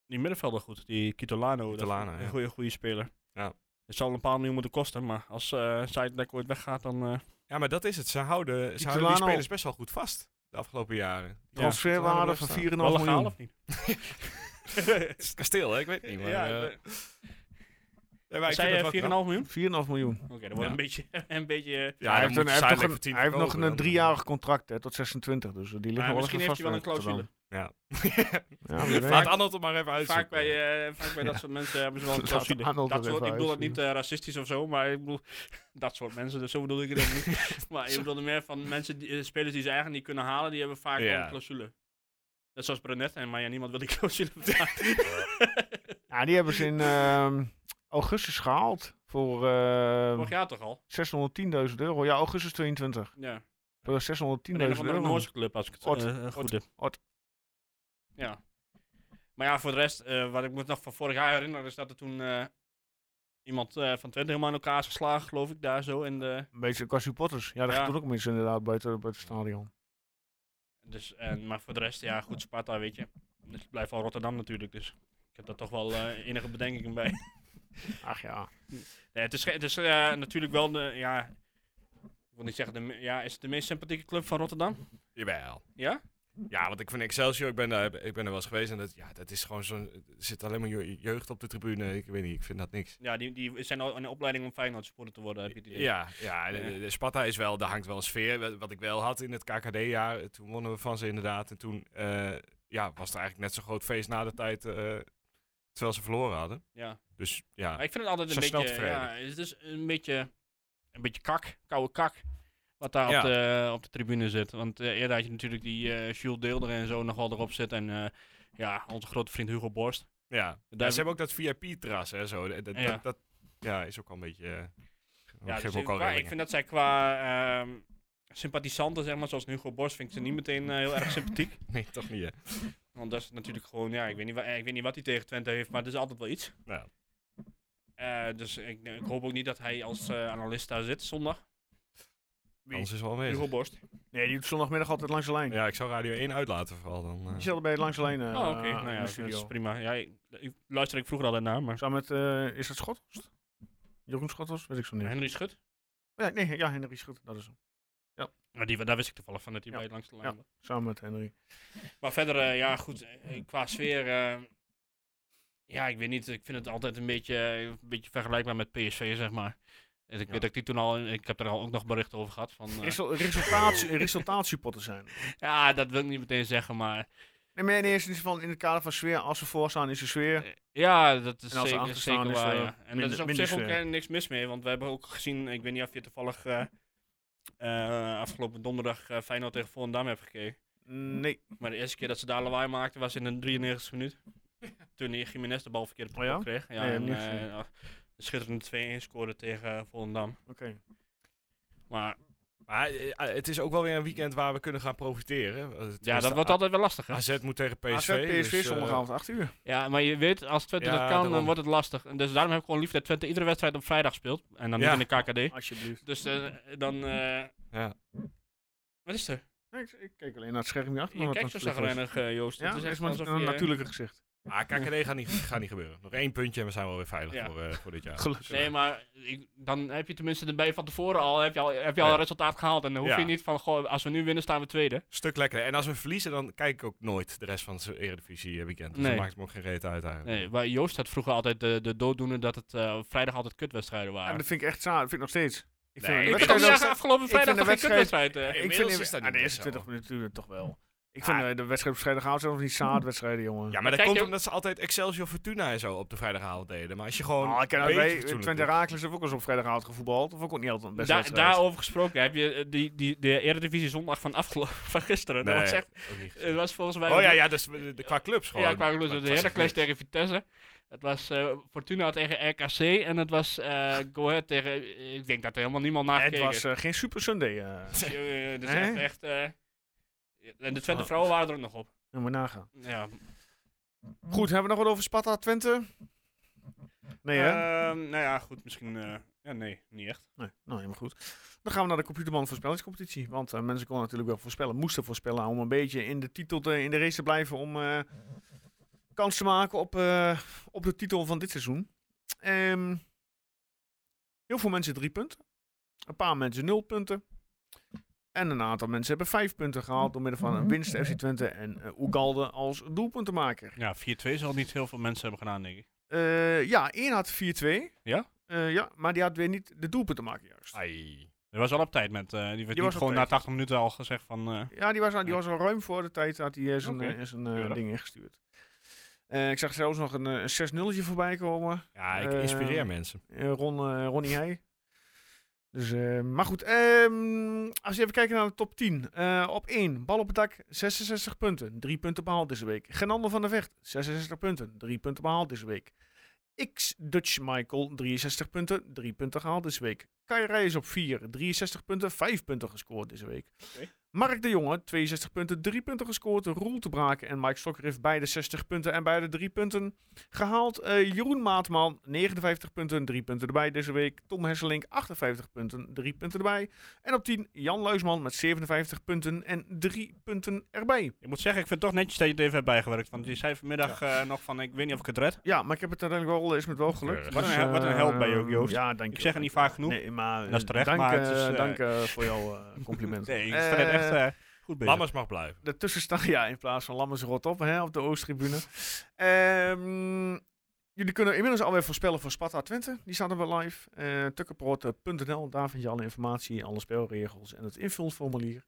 die middenvelder goed, die Kitolano.
Kitolano,
dat is
ja.
een goede, goede speler.
Ja.
Het zal een paar miljoen moeten kosten, maar als eh Zuidendijk ooit weggaat, dan... eh,
Ja, maar dat is het. Ze houden, ze houden die
Italiano-
spelers best wel goed vast de afgelopen jaren.
Transferwaarde van 4,5
wel legaal
miljoen.
of niet?
Het is het kasteel, hè? ik weet het niet. Maar,
ja,
eh,
eh,
ja, maar ik
zei
vind het
je
wel
4,5
knap.
miljoen?
4,5 miljoen.
Oké, dat wordt
Ja.
een beetje... een beetje eh,
hij
Ja, dan
heeft,
moet
een, hij heeft
Zuidelijk
nog
voor
een,
10
hij heeft nog
verkopen,
een
dan-
driejarig contract hè, tot 26, dus eh, die liggen
maar
wel
misschien
even vast.
heeft hij
eh,
wel een
te
clausule.
Ja.
dan. Ja, wie weet.
Laat Arnold het maar even uitzoeken.
Vaak bij, eh, vaak bij dat soort mensen hebben ze wel een
Laat
clausule.
Arnold
Dat
het
soort,
even
ik bedoel dat niet
uitzien.
eh, racistisch of zo, maar ik bedoel... Dat soort mensen, dus zo bedoel ik het ook niet. maar ik bedoelde meer van mensen, die, eh, spelers die ze eigenlijk niet kunnen halen, die hebben vaak wel
Ja.
een clausule. Net zoals Brunet, en maar ja, niemand wil die clausule betalen.
Ja, Nou, die hebben ze in ehm, augustus gehaald voor ehm,
Vorig jaar toch al?
610.000 euro. Ja, augustus 22.
Ja.
Voor
In
610.000
een of andere
euro.
Noorse club, als ik het
Ort.
eh, eh, goed
Ort.
heb.
Ort.
Ja. Maar ja, voor de rest, eh, wat ik me nog van vorig jaar herinner, is dat er toen eh, iemand eh, van Twente helemaal in elkaar is geslagen, geloof ik, daar zo. En de,
Een beetje qua supporters. Ja, dat
Ja.
gaat ook mensen inderdaad buiten, buiten het stadion.
dus, en, maar voor de rest, ja, goed, Sparta, weet je. Dus het blijft wel Rotterdam natuurlijk, dus ik heb daar toch wel eh, enige bedenkingen bij.
Ach ja.
Nee, het is, ge- het is eh, natuurlijk wel de, ja, ik wil niet zeggen, de, me- ja, is het de meest sympathieke club van Rotterdam?
Jawel.
Ja?
Ja, want ik vind Excelsior, ik ben daar, ik ben er wel eens geweest en dat, ja, dat is gewoon zo'n, er zit alleen maar je- jeugd op de tribune. Ik weet niet, ik vind dat niks.
Ja, die, die zijn al in de opleiding om Feyenoord supporter te worden, heb je het idee.
Ja, ja, de- de- de Sparta is wel, daar hangt wel een sfeer. Wat- Wat ik wel had in het KKD-jaar, eh, toen wonnen we van ze inderdaad. En toen eh, ja, was er eigenlijk net zo'n groot feest na de tijd, eh, terwijl ze verloren hadden.
Ja.
Dus ja,
Maar ik vind het altijd een
Zijn snel
beetje,
tevreden.
ja, het is een beetje, een beetje kak, koude kak, wat daar
Ja.
op, de, op de tribune zit. Want eh, eerder had je natuurlijk die eh Jules Deelder en zo nog wel erop zitten en eh, ja, onze grote vriend Hugo Borst.
ja.
Daar-
Ja, ze hebben ook dat VIP-terras en zo. Dat, dat,
Ja.
dat, dat- ja, is ook al een beetje... eh,
Ja,
geeft
dus
ook
ik, qua-
al
ik
rillingen.
vind dat zij qua ehm, sympathisanten, zeg maar, zoals Hugo Borst, vind ik ze niet meteen eh, heel erg sympathiek.
Nee, toch niet, hè?
Want dat is natuurlijk gewoon, ja, ik weet niet, wa- eh, ik weet niet wat hij tegen Twente heeft, maar het is altijd wel iets.
Nou,
Eh, dus ik, ik hoop ook niet dat hij als eh, analist daar zit zondag.
anders is wel
Hugo
aanwezig.
Borst.
Nee, die doet zondagmiddag altijd langs de lijn.
Ja, ik zou Radio 1 uitlaten vooral dan. eh.
Die zat bij langs de lijn eh,
oh, oké.
in
Nou ja,
de
dat is
studio.
prima. Ja, ik, ik luister ik vroeger altijd naar, maar...
Samen met, eh, is dat Schottelst? Jeroen Schottelst? Weet ik zo niet.
Henry Schut?
Ja, nee, ja, Henry Schut, dat is hem.
Nou, die, daar wist ik toevallig van dat hij
Ja.
bij langs de lijn
Ja.
was.
Samen met Henry.
Maar verder, eh, ja, goed. eh, qua sfeer... eh, ja, ik weet niet. Ik vind het altijd een beetje, eh, een beetje vergelijkbaar met PSV, zeg maar. En ik weet dat ik die toen al... Ik heb er al ook nog berichten over gehad. Van, eh,
Resel- resultaat, resultaatsupporters zijn.
ja, dat wil ik niet meteen zeggen, maar...
Nee, maar in eerste instantie van in het kader van sfeer, als ze voorstaan is de sfeer.
Ja, dat is
En als ze
zeker,
achter
zeker
staan, is,
waar.
eh,
ja. En
minder-
dat is op
minder
zich ook
sfeer.
eh, niks mis mee, want we hebben ook gezien, ik weet niet of je toevallig eh, eh, afgelopen donderdag eh, Feyenoord tegen Volendam hebt gekeken.
Nee.
Maar de eerste keer dat ze daar lawaai maakten was in de 93e minuut. Toen die Jiménez de bal verkeerd op de
Oh ja?
kop kreeg. Ja,
Nee,
en,
heb ik niet
eh,
gezien.
ja, een schitterende 2-1 scoorde tegen eh, Volendam.
Oké.
Maar
Dus
Maar eh, eh, het is ook wel weer een weekend waar we kunnen gaan profiteren. Eh,
ja,
tenminste,
dat wordt altijd wel lastig. Hè?
AZ moet tegen PSV.
AZ, PSV
dus, eh,
zondagavond 8 uur.
Ja, maar je weet, als Twente
Ja,
dat kan, dan
daarom.
wordt het lastig. En dus daarom heb ik gewoon lief dat Twente iedere wedstrijd op vrijdag speelt. En dan
Ja.
niet in de KKD.
Alsjeblieft.
Dus eh, dan... eh,
Ja.
wat is er?
ik, ik kijk alleen naar het scherm hier achter.
Je kijkt zo zagrijnig, eh, Joost.
Ja,
Het is
dat is
echt
maar
alsof
een
je-
natuurlijke gezicht.
Ah, KKD gaat niet, gaat niet gebeuren. Nog één puntje en we zijn wel weer veilig
Ja.
voor, eh, voor dit jaar.
Gelukkig.
Nee, maar ik, dan heb je tenminste erbij van tevoren al, heb je al, heb je al
Ja.
een resultaat gehaald. En dan hoef
Ja.
je niet van, goh, als we nu winnen, staan we tweede.
Stuk lekker. En als we verliezen, dan kijk ik ook nooit de rest van het Eredivisie eh, weekend. Dus
Nee.
dan maakt het me ook geen reet uit eigenlijk.
Nee, maar Joost had vroeger altijd de, de dooddoener dat het eh, vrijdag altijd kutwedstrijden
Ja, maar
waren.
dat vind ik echt saai. Dat vind ik nog steeds. Ik de
Nee,
ik
ik
vind
wedstrijd
toch
ook
niet
ook
echt
saai.
afgelopen
ik vind
vrijdag
de
toch geen
wedstrijd-
kutwedstrijd. eh?
Ik
Inmiddels
vind
is
in-
dat
aan de
niet
eerste
meer zo.
20 minuten toch wel. Ik vind eh, de wedstrijd op vrijdagavond zijn nog niet zaadwedstrijden, jongen.
Ja, maar dat
Kijk,
komt
joh.
omdat ze altijd Excelsior Fortuna en zo op de vrijdagavond deden. Maar als je gewoon.
Ah, ik ken
een
dat
beetje
wij,
fatsoenlijk
Twente
doet.
Herakles heeft ook eens op vrijdagavond gevoetbald. Of ook niet altijd een beste
Da-
wedstrijd.
daarover gesproken heb je eh, die, die, de Eredivisie zondag van, afgelo- van gisteren.
Nee,
Dat was echt,
ook niet.
het was volgens mij...
Oh ja, ja, dus eh, de- qua clubs gewoon.
Ja, ik wou
Maar
de
het was echt
Heracles
niks.
tegen Vitesse. Het was eh, Fortuna tegen RKC en het was eh Go Ahead tegen... Ik denk dat er helemaal niemand naar
het
gekeken
was eh, geen Super Sunday. eh
Jongen, dat is
Hè?
echt... echt eh, en de Twente vrouwen waren er ook nog op.
moet je nagaan.
Ja.
Goed, hebben we nog wat over Sparta Twente? Nee, hè?
Eh.
Ehm, nou ja, goed, misschien... eh, ja, nee, niet echt.
Nee, nou helemaal goed. Dan gaan we naar de Computerman voorspellingscompetitie. Want eh, mensen konden natuurlijk wel voorspellen, moesten voorspellen om een beetje in de titel te, in de race te blijven om eh, kans te maken op, eh, op de titel van dit seizoen. Ehm, heel veel mensen drie punten. Een paar mensen nul punten. En een aantal mensen hebben vijf punten gehaald door middel van een winst FC Twente en eh Oegalde als doelpuntenmaker.
Ja, 4-2 zal niet heel veel mensen hebben gedaan, denk ik.
Eh, ja, één had 4-2.
Ja?
Eh, ja, maar die had weer niet de doelpunten maken juist.
Ai.
Dat was al op tijd met... eh, die werd
Die
niet
was op
gewoon na
tijd.
80 minuten al gezegd van... eh,
Ja, die was, al, die was al ruim voor de tijd dat hij eh, zijn,
Oké.
eh, zijn eh,
Keurig.
ding ingestuurd. Eh, ik zag zelfs nog een, eh, een 6-0 voorbij komen.
Ja, ik
Eh,
inspireer mensen.
Eh, Ron, eh, Ronnie Heij. Dus, eh, maar goed, ehm, als je even kijkt naar de top 10. Eh, op 1, bal op het dak, 66 punten. 3 punten behaald deze week. Genander van der Vecht, 66 punten. 3 punten behaald deze week. X Dutch Michael, 63 punten. 3 punten gehaald deze week. Kai Reijs op 4, 63 punten. 5 punten gescoord deze week. Mark de Jonge, 62 punten. 3 punten gescoord. Roel te braken en Mike Stokker heeft beide 60 punten en beide 3 punten gehaald. Eh, Jeroen Maatman, 59 punten, 3 punten erbij deze week. Tom Hesselink, 58 punten, 3 punten erbij. En op 10, Jan Luisman met 57 punten en 3 punten erbij.
Ik moet zeggen, ik vind het toch netjes dat je het even hebt bijgewerkt. Want je zei vanmiddag eh, nog van, ik weet niet of ik het red.
Ja, maar ik heb het uiteindelijk wel, is me het wel gelukt.
Keurig.
Wat een- wat een
eh,
held ben je ook, Joost.
Ja, dank
Ik
je
zeg
wel,
het niet
dank
vaak
je wel.
genoeg.
Nee, maar
Dat is terecht,
dank,
maar het
eh,
is, eh,
dank eh, voor jouw eh, compliment.
Nee, ik
Eh,
vind het echt eh, goed bezig.
Lammers mag blijven.
de tussenstand, ja, in plaats van Lammers rot op hè, op de Oosttribune. Ehm, jullie kunnen inmiddels alweer voorspellen voor Sparta Twente. Die staan er wel live. Eh Tukkenproot.nl, daar vind je alle informatie, alle spelregels en het invulformulier.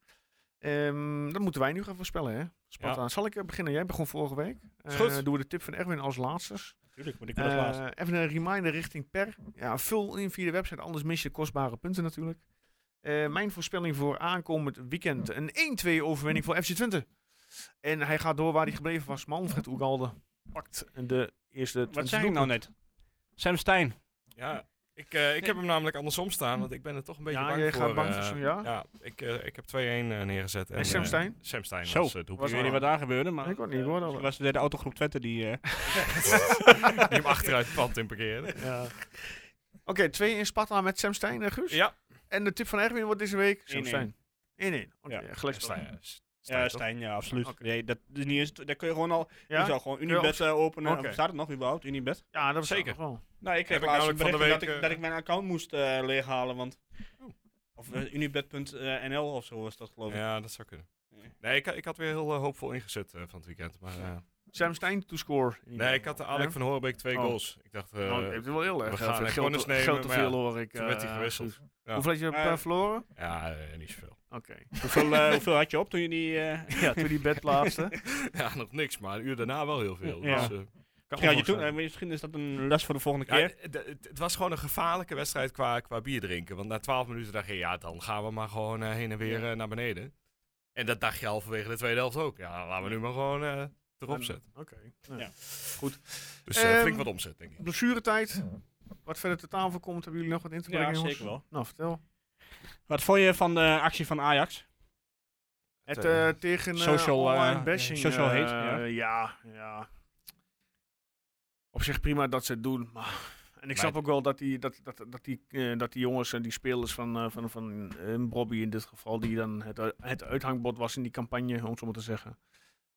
Ehm dat moeten wij nu gaan voorspellen, hè? Sparta. Zal ik eh, beginnen? Jij begon vorige week. Eh,
goed.
Doen we de tip van Erwin als laatste.
Natuurlijk, maar ik ben
Eh,
als laatste.
even een reminder richting Per. Ja, vul in via de website, anders mis je kostbare punten natuurlijk. Eh, mijn voorspelling voor aankomend weekend. Een 1-2 overwinning voor FC Twente. En hij gaat door waar hij gebleven was. Manfred Oegalde pakt de eerste
Wat
Twente
zei ik nou
doelpunt.
net? Sam Stein.
Ja, ik, eh, ik heb hem namelijk andersom staan, want ik ben er toch een beetje
Ja,
bang
jij
voor.
gaat bang
eh,
voor zo'n- ja?
ik, eh, ik heb 2-1 eh, neergezet. En,
En Sam
eh,
Stein?
Sam Stein
Zo,
was eh, het
was
Ik weet
wel-
niet wat daar gebeurde, maar...
Ik ook niet, hoor.
Het
Dat-
was weer de autogroep Twente die... eh,
Die hem achteruit het pand in parkeerde.
ja. Oké, 2 in Sparta met Sam Stein en Guus.
Ja,
En de tip van Erwin wordt deze week Sam
1-1.
Stein. 1-1. Oké,
Ja,
gelijk
Stein.
Stein.
eh, S- Stein,
ja,
toch?
Stein, ja, absoluut.
Oké.
Nee, dat is niet eens... Daar kun je gewoon al... Je
Ja?
zou gewoon
je
Unibet eh, openen.
Oké.
Of Staat het nog überhaupt, Unibet?
ja, dat was
Zeker.
Wel.
Nou, ik kreeg
ik
laatst een
namelijk van de
berichtje dat, ik,
week, eh,
dat ik mijn account moest eh, leeghalen, want... Of eh, unibet.nl of zo was dat, geloof ik.
Ja, dat zou kunnen.
Ja.
Nee, ik, ik had weer heel eh, hoopvol ingezet eh, van het weekend. Maar, eh,
Sam Stein to score.
nee, ik had de Alec
Ja?
van Horenbeek twee
Oh.
goals. Ik dacht, eh,
Nou, ik heb het wel heel erg.
we
We
gaan, eh,
geld,
corners
te- geld
nemen,
te
maar ja,
veel hoor ik.
toen werd hij
eh,
gewisseld.
goed.
Ja.
Hoeveel had je
Maar-
per verloren?
ja, eh, niet zoveel.
Oké.
Hoeveel, eh, hoeveel had je op toen je die... eh,
ja, toen die bed plaatste.
Ja, nog niks, maar een uur daarna wel heel veel.
Ja.
Dus, eh,
misschien, had je toen, eh, misschien is dat een les voor de volgende
Ja,
keer.
d- d- het, was gewoon een gevaarlijke wedstrijd qua, qua bier drinken. Want na 12 minuten dacht je, ja, dan gaan we maar gewoon eh, heen en weer eh, naar beneden. En dat dacht je halverwege de tweede helft ook. Ja, laten we nu maar gewoon eh, erop
En-
zetten.
Oké. nou.
Ja.
Dus eh,
Ehm,
flink wat omzet, denk ik.
Blessuretijd. Wat verder te tafel komt, hebben jullie nog wat in te brengen?
Ja,
jongens?
zeker wel.
Nou, vertel.
Wat vond je van de actie van Ajax?
Het
eh,
eh, tegen eh,
social,
online
eh,
bashing.
social hate,
eh,
ja.
ja, ja. Op zich prima dat ze het doen, maar... En ik snap ook wel dat die, dat, dat, dat die, eh, dat die jongens en die spelers van, eh, van, van eh, Bobby in dit geval, die dan het, u- het uithangbod was in die campagne, om het zo maar te zeggen.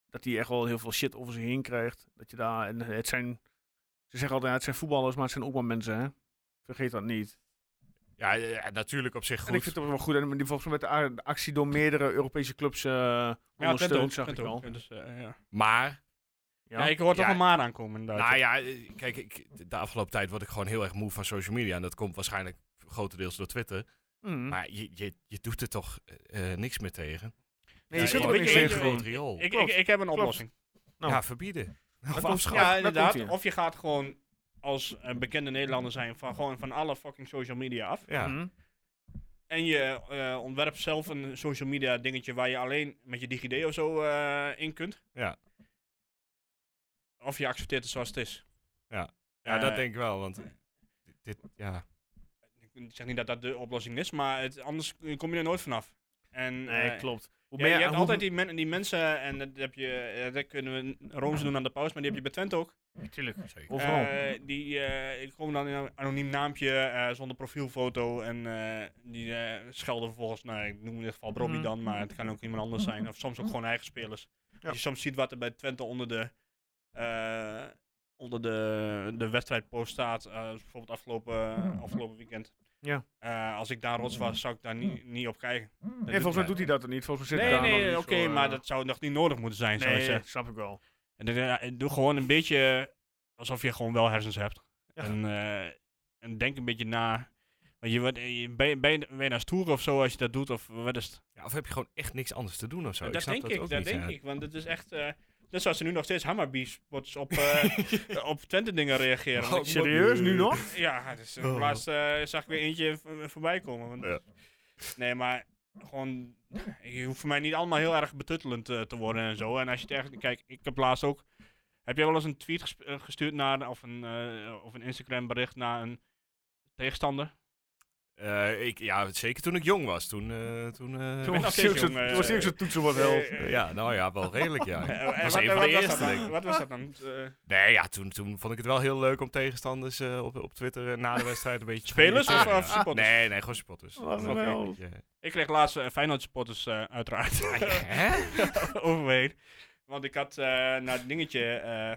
Dat die echt wel heel veel shit over zich heen krijgt. Dat je daar, en het zijn, ze zeggen altijd, ja, het zijn voetballers, maar het zijn ook maar mensen, hè. Vergeet dat niet.
Ja, ja, natuurlijk op zich goed.
En ik vind het ook wel goed. En die volgens mij werd de a- de actie door meerdere Europese clubs eh ondersteund, zag ik
Twente
wel.
ook. Dus, eh, ja.
Maar,
Ja.
Ja, ik hoor toch
Ja.
een maar aankomen inderdaad.
nou ja, eh, kijk, ik, de afgelopen tijd word ik gewoon heel erg moe van social media. En dat komt waarschijnlijk grotendeels door Twitter.
Mm.
Maar je, je, je doet er toch eh, eh, niks meer tegen.
Nee, je
Ja,
kunt
ik-
er ook
weet
niks
je-
in
weet je-
gewoon.
riool.
Ik, ik,
Klopt.
ik heb een
Klopt.
oplossing.
Nou.
Ja, verbieden.
Nou,
Of afschaffen.
Ja,
Daar
inderdaad.
komt ie.
Of je gaat gewoon als eh, bekende Nederlander zijn van gewoon van alle fucking social media af.
Ja.
Mhm.
En je eh, ontwerpt zelf een social media dingetje waar je alleen met je DigiD of zo eh, in kunt.
Ja.
Of je accepteert het zoals het is.
ja, dat
Eh,
denk ik wel, want dit, dit- ja.
Ik zeg niet dat dat de oplossing is, maar het, anders kom je er nooit vanaf. En,
Nee,
eh,
klopt. Hoe
Ja, je,
meer-
hebt
hoe-
altijd die, men- die mensen, en dat, heb je, eh, dat kunnen we in Rooms doen aan de paus, maar die heb je bij Twente ook.
Natuurlijk.
Zeker.
Overal.
Eh, die eh, die komen dan in een anoniem naampje, eh, zonder profielfoto. En eh, die eh, schelden vervolgens, nou, ik noem in dit geval Robbie
Mhm.
dan, maar het kan ook iemand anders zijn. Of soms ook
Mm.
gewoon eigen spelers. Als je soms ziet wat er bij Twente onder de, eh, onder de, de wedstrijdpost staat, eh, bijvoorbeeld afgelopen, afgelopen weekend.
Mm. Ja. Mm.
Eh, als ik daar rots was, zou ik daar niet niet op kijken. Dat
Nee, volgens mij
hij-
doet hij dat er niet. Volgens mij zit
Nee,
hij daar
nee,
nog
oké,
niet zo, eh,
maar dat zou nog niet nodig moeten zijn, zou ik
Nee,
zeggen.
dat snap ik wel.
En dan, ja, en doe gewoon een beetje eh, alsof je gewoon wel hersens hebt.
Ja.
En, eh, en denk een beetje na. Want je, wordt- eh, je- ben, je, ben, je, ben je nou stoer of zo als je dat doet? Of wat is het?
Ja, of heb je gewoon echt niks anders te doen of zo?
dat
Oh, snap
denk
dat
ik,
ook
dat
niet,
denk
ja.
ik. Want het is echt... eh net zoals ze nu nog steeds hammerbiespots op, eh, op Twente dingen reageren. Want ik-
Serieus, nu nog?
Ja, het is, eh, laatst eh, zag ik weer eentje v- voorbij komen. Want-
Oh. Ja.
Nee, maar gewoon, je hoeft voor mij niet allemaal heel erg betuttelend eh, te worden en zo. En als je het echt, kijk, ik heb laatst ook, heb jij wel eens een tweet gesp- eh, gestuurd naar, of een, eh, of een Instagram bericht naar een tegenstander?
Eh, ik. Ja, zeker toen ik jong was. Toen, eh, toen eh,
Toen
nog
was
steeds
hij ook zo'n-
jong, eh,
toen was hij ook zo'n toetsen wat wel.
Eh, eh,
Ja, nou ja, wel redelijk, ja.
eh, eh,
Ik was
wat-
een
eh, wat
van de
was dat
eerste,
dan?
denk ik.
Wat was dat dan? Eh,
Nee, ja, toen, toen vond ik het wel heel leuk om tegenstanders eh, op, op Twitter eh, na de wedstrijd een beetje... te
Spelers of-
irriteren,
of eh,
ja.
supporters?
Nee, nee, gewoon supporters.
Wat
Gewoon een
wel.
beetje-
ik kreeg laatst eh, Feyenoord supporters eh, uiteraard.
Hè?
overheen. Want ik had eh nou het dingetje. eh,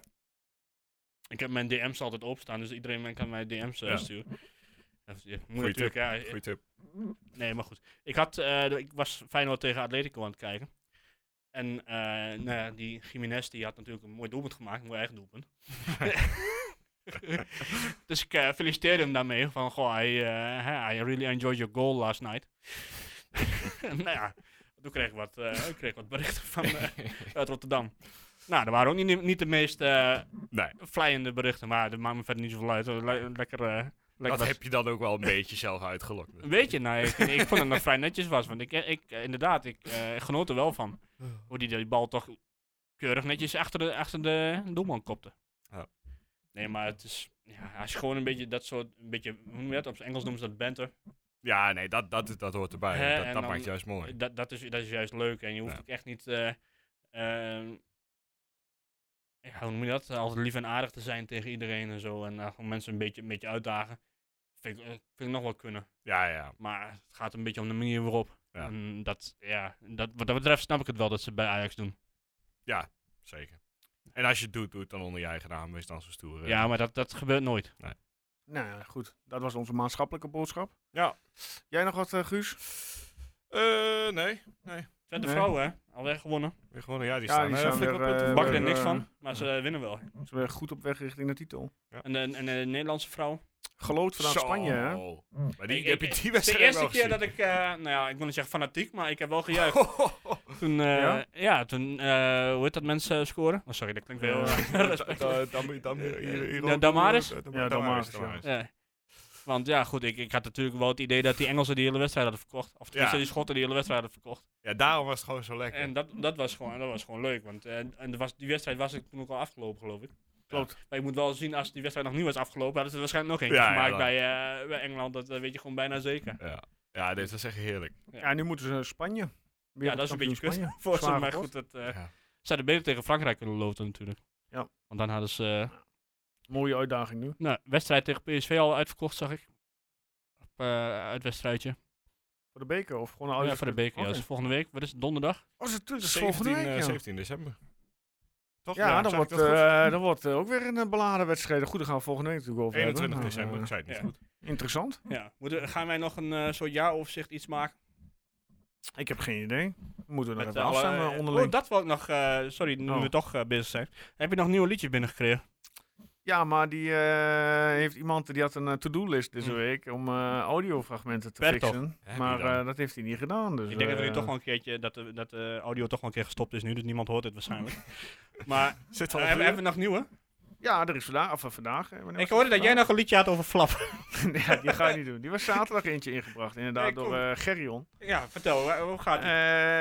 ik heb mijn DM's altijd opstaan, dus iedereen kan mij DM's eh,
Ja.
sturen. Dat is- ja, moet
Goeie
natuurlijk, ja, eh,
Goeie tip.
Nee, maar goed. Ik, had, eh, ik was Feyenoord tegen Atletico aan het kijken. En eh, nou ja, die Jiménez die had natuurlijk een mooi doelpunt gemaakt, een mooi eigen doelpunt. dus ik eh, feliciteerde hem daarmee. Van, goh, I, eh, I really enjoyed your goal last night. nou ja, toen kreeg ik wat, eh, ik kreeg wat berichten van, eh, uit Rotterdam. Nou, dat waren ook niet, niet de meest eh
Nee.
vlijende berichten, maar dat maakt me verder niet zoveel uit. Le- lekker, eh, lekker
Dat
was-
heb je dan ook wel een beetje zelf uitgelokt.
een beetje, nou, ik, ik vond het nog vrij netjes was. Want ik, ik eh, inderdaad, ik eh, genoot er wel van. Hoe die die bal toch keurig netjes achter de, achter de doelman kopte.
Ja.
Nee, maar het is... Ja, als je gewoon een beetje dat soort... Een beetje, hoe noem je dat? Op het Engels noemen ze dat banter.
Ja, nee, dat, dat, dat hoort erbij.
Hè,
dat
en
dat
dan-
maakt juist mooi.
Dat, dat, is, dat is juist leuk. En je hoeft
Ja.
ook echt niet... eh, ehm, ja, hoe noem je dat? Altijd lief en aardig te zijn tegen iedereen en zo. En eh, gewoon mensen een beetje, een beetje uitdagen. Vind ik, eh, vind ik nog wel kunnen.
Ja, ja.
Maar het gaat een beetje om de manier waarop.
Ja.
En dat, ja, dat, wat dat betreft snap ik het wel dat ze bij Ajax doen.
Zeker. En als je het doet, doe het dan onder je eigen naam. Wees dan zo stoer. eh.
Ja, maar dat, dat gebeurt nooit.
Nou ja, goed. Dat was onze maatschappelijke boodschap.
Ja.
Jij nog wat, eh, Guus?
Eh, nee.
Twente
Nee.
vrouwen, hè? Alweer gewonnen.
Weer Gewoon, ja, die
Ja,
staan,
die
eh,
staan
flink
weer,
op punten.
eh,
Bakken er
we-
niks
eh,
van, maar ze winnen wel.
Ze zijn goed op weg richting de titel.
En, en, en de Nederlandse vrouw.
Geloot vanuit
Zo.
Spanje, hè?
Maar die,
Ik-
heb je
ik-
die
Het is de
wedstrijd
eerste
wel
keer
gezien?
dat ik, eh, nou ja, ik wil niet zeggen fanatiek, maar ik heb wel gejuicht. Toen, eh,
Ja?
ja? toen, eh, hoe heet dat mensen scoren? Oh, sorry, dat klinkt
Ja.
wel.
Da- Dam- Dam- hier- hier- hier-
Ja, Damaris?
Dam-
Ja, Damaris, ja.
Damaris.
Ja. Want ja, goed, ik, ik had natuurlijk wel het idee dat die Engelsen die hele wedstrijd hadden verkocht. Of tenminste,
Ja.
die Schotten die hele wedstrijd hadden verkocht.
Ja, daarom was het gewoon zo lekker.
En dat, dat, was gewoon, dat was gewoon leuk, want eh, en er was, die wedstrijd was ik toen ook al afgelopen, geloof ik.
Klopt.
Maar je moet wel zien, als die wedstrijd nog niet was afgelopen, hadden ze er waarschijnlijk nog eentje
Ja, ja,
gemaakt
dat-
bij, eh, bij Engeland. Dat eh, weet je gewoon bijna zeker.
Ja. ja, dit was echt heerlijk.
Ja, nu moeten ze naar Spanje.
Ja, dat is een beetje
Wereldkampioen
kut
Spanje.
voor ze,
Zwaar
maar
geworden.
goed. Dat, eh
Ja.
Ze hadden beter tegen Frankrijk kunnen loten natuurlijk.
Ja.
Want dan hadden ze eh,
Mooie uitdaging nu.
nou, wedstrijd tegen PSV al uitverkocht, zag ik. Op, eh, uitwedstrijdje.
Voor de beker of gewoon een
Ja, voor de beker. Ja,
Oké.
dus volgende week. Wat is het? Donderdag?
Oh, ze natuurlijk
17,
volgende
eh,
week, ja.
17 december. Toch?
Ja, dan
zag ik
wordt,
dat goed?
eh, dan wordt eh, ook weer een eh, beladen wedstrijd. Goed, daar gaan we volgende week natuurlijk over hebben. Maar,
21 december, ik zei het niet
ja.
goed.
eh, Interessant.
Ja. Moeten, gaan wij nog een eh, soort jaaroverzicht iets maken?
Ik heb geen idee. Moeten we nog
Met
even
alle-
afstemmen
oh,
eh,
onderling.
Oh, dat wou ik nog. eh, sorry, nu
Oh.
we toch eh, bezig zijn. Heb je nog nieuwe liedjes binnengekregen?
Ja, maar die eh, heeft iemand die had een eh, to-do-list deze
Hm.
week om eh, audiofragmenten te
Bertolt.
fixen.
Heb je
Maar
dan?
eh, dat heeft hij niet gedaan. Dus,
Ik denk dat we nu
eh,
toch wel een keertje, dat de, dat de audio toch wel een keer gestopt is nu, dus niemand hoort het waarschijnlijk. maar
Zit
eh, hebben, hebben we nog nieuwe?
Ja, er is vandaag. Of eh, vandaag. eh, wanneer was
Ik hoorde
het?
dat jij nog een liedje had over flap.
Vandaag? ja, die ga je niet doen. Die was zaterdag eentje ingebracht, inderdaad,
Nee,
door
kom.
eh, Gerrion.
ja, vertel, wa- hoe gaat het?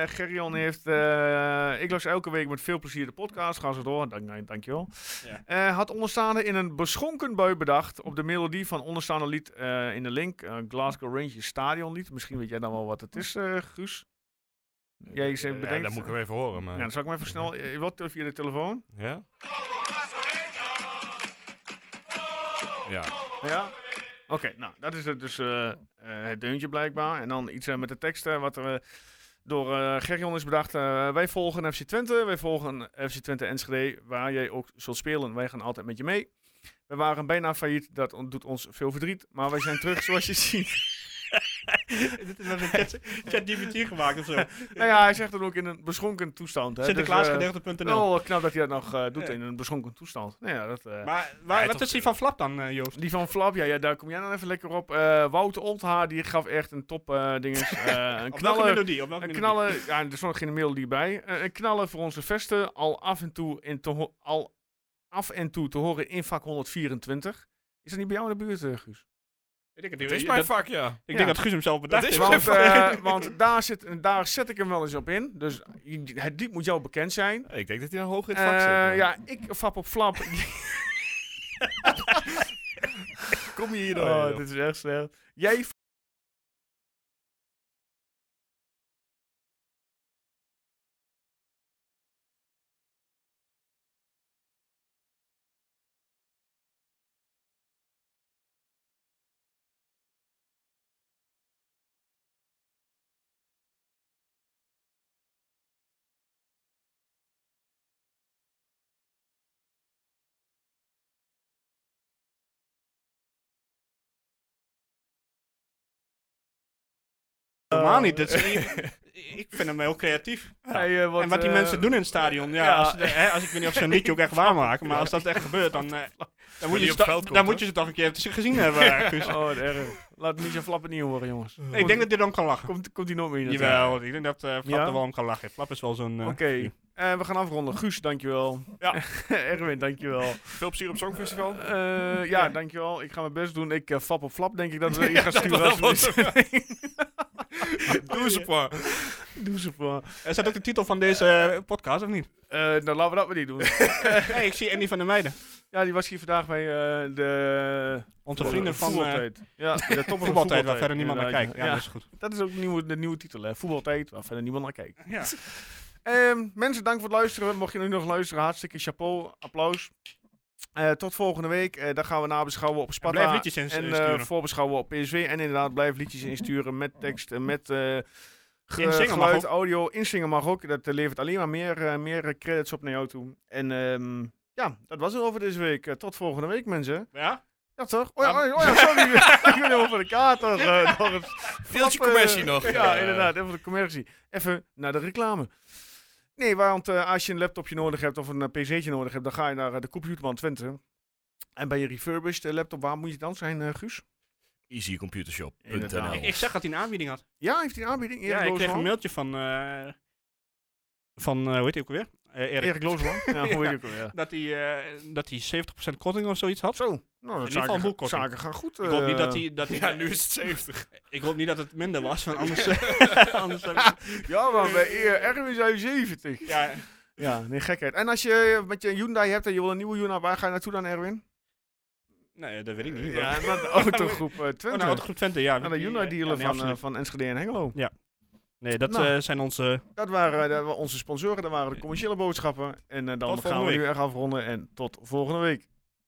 Eh, Gerrion heeft. eh, ik las elke week met veel plezier de podcast. Gaan ze door. Dank, nee, dankjewel.
Ja.
Eh, had onderstaande in een beschonken bui bedacht. op de melodie van onderstaande lied eh, in de link. eh, Glasgow Rangers Stadionlied. Misschien weet jij dan wel wat het is, eh, Guus. Jij is even
Ja,
bedenkt.
dat moet ik hem even horen, maar...
Ja, dan zal ik hem even snel. eh, Wat via de telefoon?
Ja? Ja.
Ja. Oké, nou, dat is het dus eh, eh, het deuntje blijkbaar. En dan iets eh, met de teksten wat er eh, door eh Gerjon is bedacht. Eh, wij volgen FC Twente, wij volgen FC Twente Enschede, waar jij ook zult spelen. Wij gaan altijd met je mee. We waren bijna failliet, dat on- doet ons veel verdriet. Maar wij zijn terug, zoals je ziet.
Eh, Dit is met een chat- ChatGPT gemaakt of zo.
nou ja, hij zegt dat ook in een beschonken toestand. Hè? Dus, eh,
Sinterklaasgedeelte.nl.
wel knap dat hij dat nog eh, doet in een beschonken toestand. Nou ja, dat, eh,
maar
Ja,
waar,
hij
wat
toch-
is die van flap dan, eh, Joost?
Die van Flap, ja, ja, daar kom jij dan even lekker op. Eh, Wouter Oldhaar, die gaf echt een top eh dinges. eh, een
Op welke
knallen.
melodie? Op welke
Een
melodie?
knallen, ja, er stond geen mail die bij. Eh, een knallen voor onze vesten, al af en toe, in te ho- al af en toe te horen in vak 124. Is dat niet bij jou in de buurt, eh, Guus?
Ik denk
Het
dat-
is
dat-
mijn vak, ja.
Ik denk
Ja.
dat Guus hem zelf bedacht
Dat is
heeft.
Want, eh, want daar, zit, daar zet ik hem wel eens op in. Dus je- het lied moet jou bekend zijn.
Ik denk dat hij dan hoog in het vak zit.
Eh,
man.
ja, ik fap op flap.
Kom je hier
Oh,
dan?
dit is echt slecht. Jij
Helemaal niet. Dat is- ik vind hem heel creatief.
Hij, eh,
en wat die
eh,
mensen doen in het stadion. Ja,
ja.
Als, ze de- hè, als ik weet niet of ze een liedje ook echt waarmaken. Maar als dat echt gebeurt, dan, eh, dan, moet,
die
je
op
ze
veld
dan
komt,
moet
hè?
je ze toch een keer te- gezien hebben. Guus.
Oh, wat erg. Laat niet zo flappen niet horen, jongens.
ik denk dat dit om kan lachen.
Komt, komt hij nooit meer in het
Jawel, ik denk dat eh Flap
Ja?
er wel om kan lachen. Flap is wel zo'n... eh,
Oké, eh, we gaan afronden. Guus, dankjewel.
Ja.
Erwin, dankjewel.
Veel plezier op Songfestival.
Eh ja, dankjewel. Ik ga mijn best doen. Ik eh, fap op flap, denk ik dat we in gaan sturen.
dat
als we
was
dit-
Doe ze maar.
Doe ze voor.
Is dat ook de titel van deze eh, podcast, of niet?
Eh, nou, laten we dat maar niet doen.
hey, ik zie Andy van der Meijden.
ja, die was hier vandaag bij eh, de...
Onze vrienden van... eh
voetbaltijd. ja, de topper van
Voetbaltijd, waar verder niemand naar
inderdaad,
kijkt.
ja.
Ja, dus- dat is goed.
Ja, dat is ook de nieuwe, de nieuwe titel, hè. Voetbaltijd, waar verder niemand naar kijkt.
Ja.
Ehm, mensen, dank voor het luisteren. Mocht je nu nog luisteren, hartstikke chapeau. Applaus. Eh, tot volgende week. Eh daar gaan we nabeschouwen op Sparta.
blijf liedjes ins-
En eh,
insturen.
voorbeschouwen op PSV. En inderdaad, blijf liedjes insturen met tekst en met eh ge-
Inzingen mag
geluid,
ook.
audio. Insingen mag ook. Dat eh, levert alleen maar meer, eh, meer eh, credits op naar jou toe. En ehm, ja, dat was het over deze week. Eh, tot volgende week, mensen.
Ja?
Ja, toch? Oh ja, oh ja, oh ja, sorry. Ik ben helemaal van de kater. eh, door het
Deeltje
flappen.
commercie nog.
Ja,
Eh,
inderdaad. Even de commercie. Even naar de reclame. Nee, want eh, als je een laptopje nodig hebt of een eh, pc'tje nodig hebt, dan ga je naar eh, de computerman Twente. En bij je refurbished eh, laptop, waar moet je dan zijn, eh, Guus? Inderdaad.
Easycomputershop.nl
Ik zag dat hij een aanbieding had.
Ja, heeft hij een aanbieding? Erik
Ja, ik kreeg
Loosman?
een mailtje van... eh, van, eh, hoe heet hij ook alweer? Eh, Erik.
Erik Loosman? Ja, hoe
Ja.
weet ik wel, ja.
dat hij, eh, dat hij 70% korting of zoiets had.
Zo, nou,
ieder
de
geval
zaken,
een
ga-
boekkorting.
zaken gaan goed.
Ik hoop niet
eh.
dat hij... Dat hij
Ja, nu is het 70.
Ik hoop niet dat het minder was, want anders... anders heb ik-
Ja, maar bij eh, Erwin zijn 70.
ja,
Ja, nee, gekheid. En als je eh, met je Hyundai hebt en je wil een nieuwe Hyundai, waar ga je naartoe dan, Erwin?
nee, dat weet ik niet.
Ja, naar de autogroep eh,
Oh,
Twente.
nou, groep Twente, ja.
Aan de Hyundai dealer
nee,
van, eh,
absoluut.
van Enschede en Hengelo.
Nee, dat
Nou.
eh, zijn onze...
Dat waren, eh, dat waren onze sponsoren, dat waren de commerciële boodschappen. En eh, dan
Tot
gaan
volgende
we nu
week.
echt afronden en tot volgende week.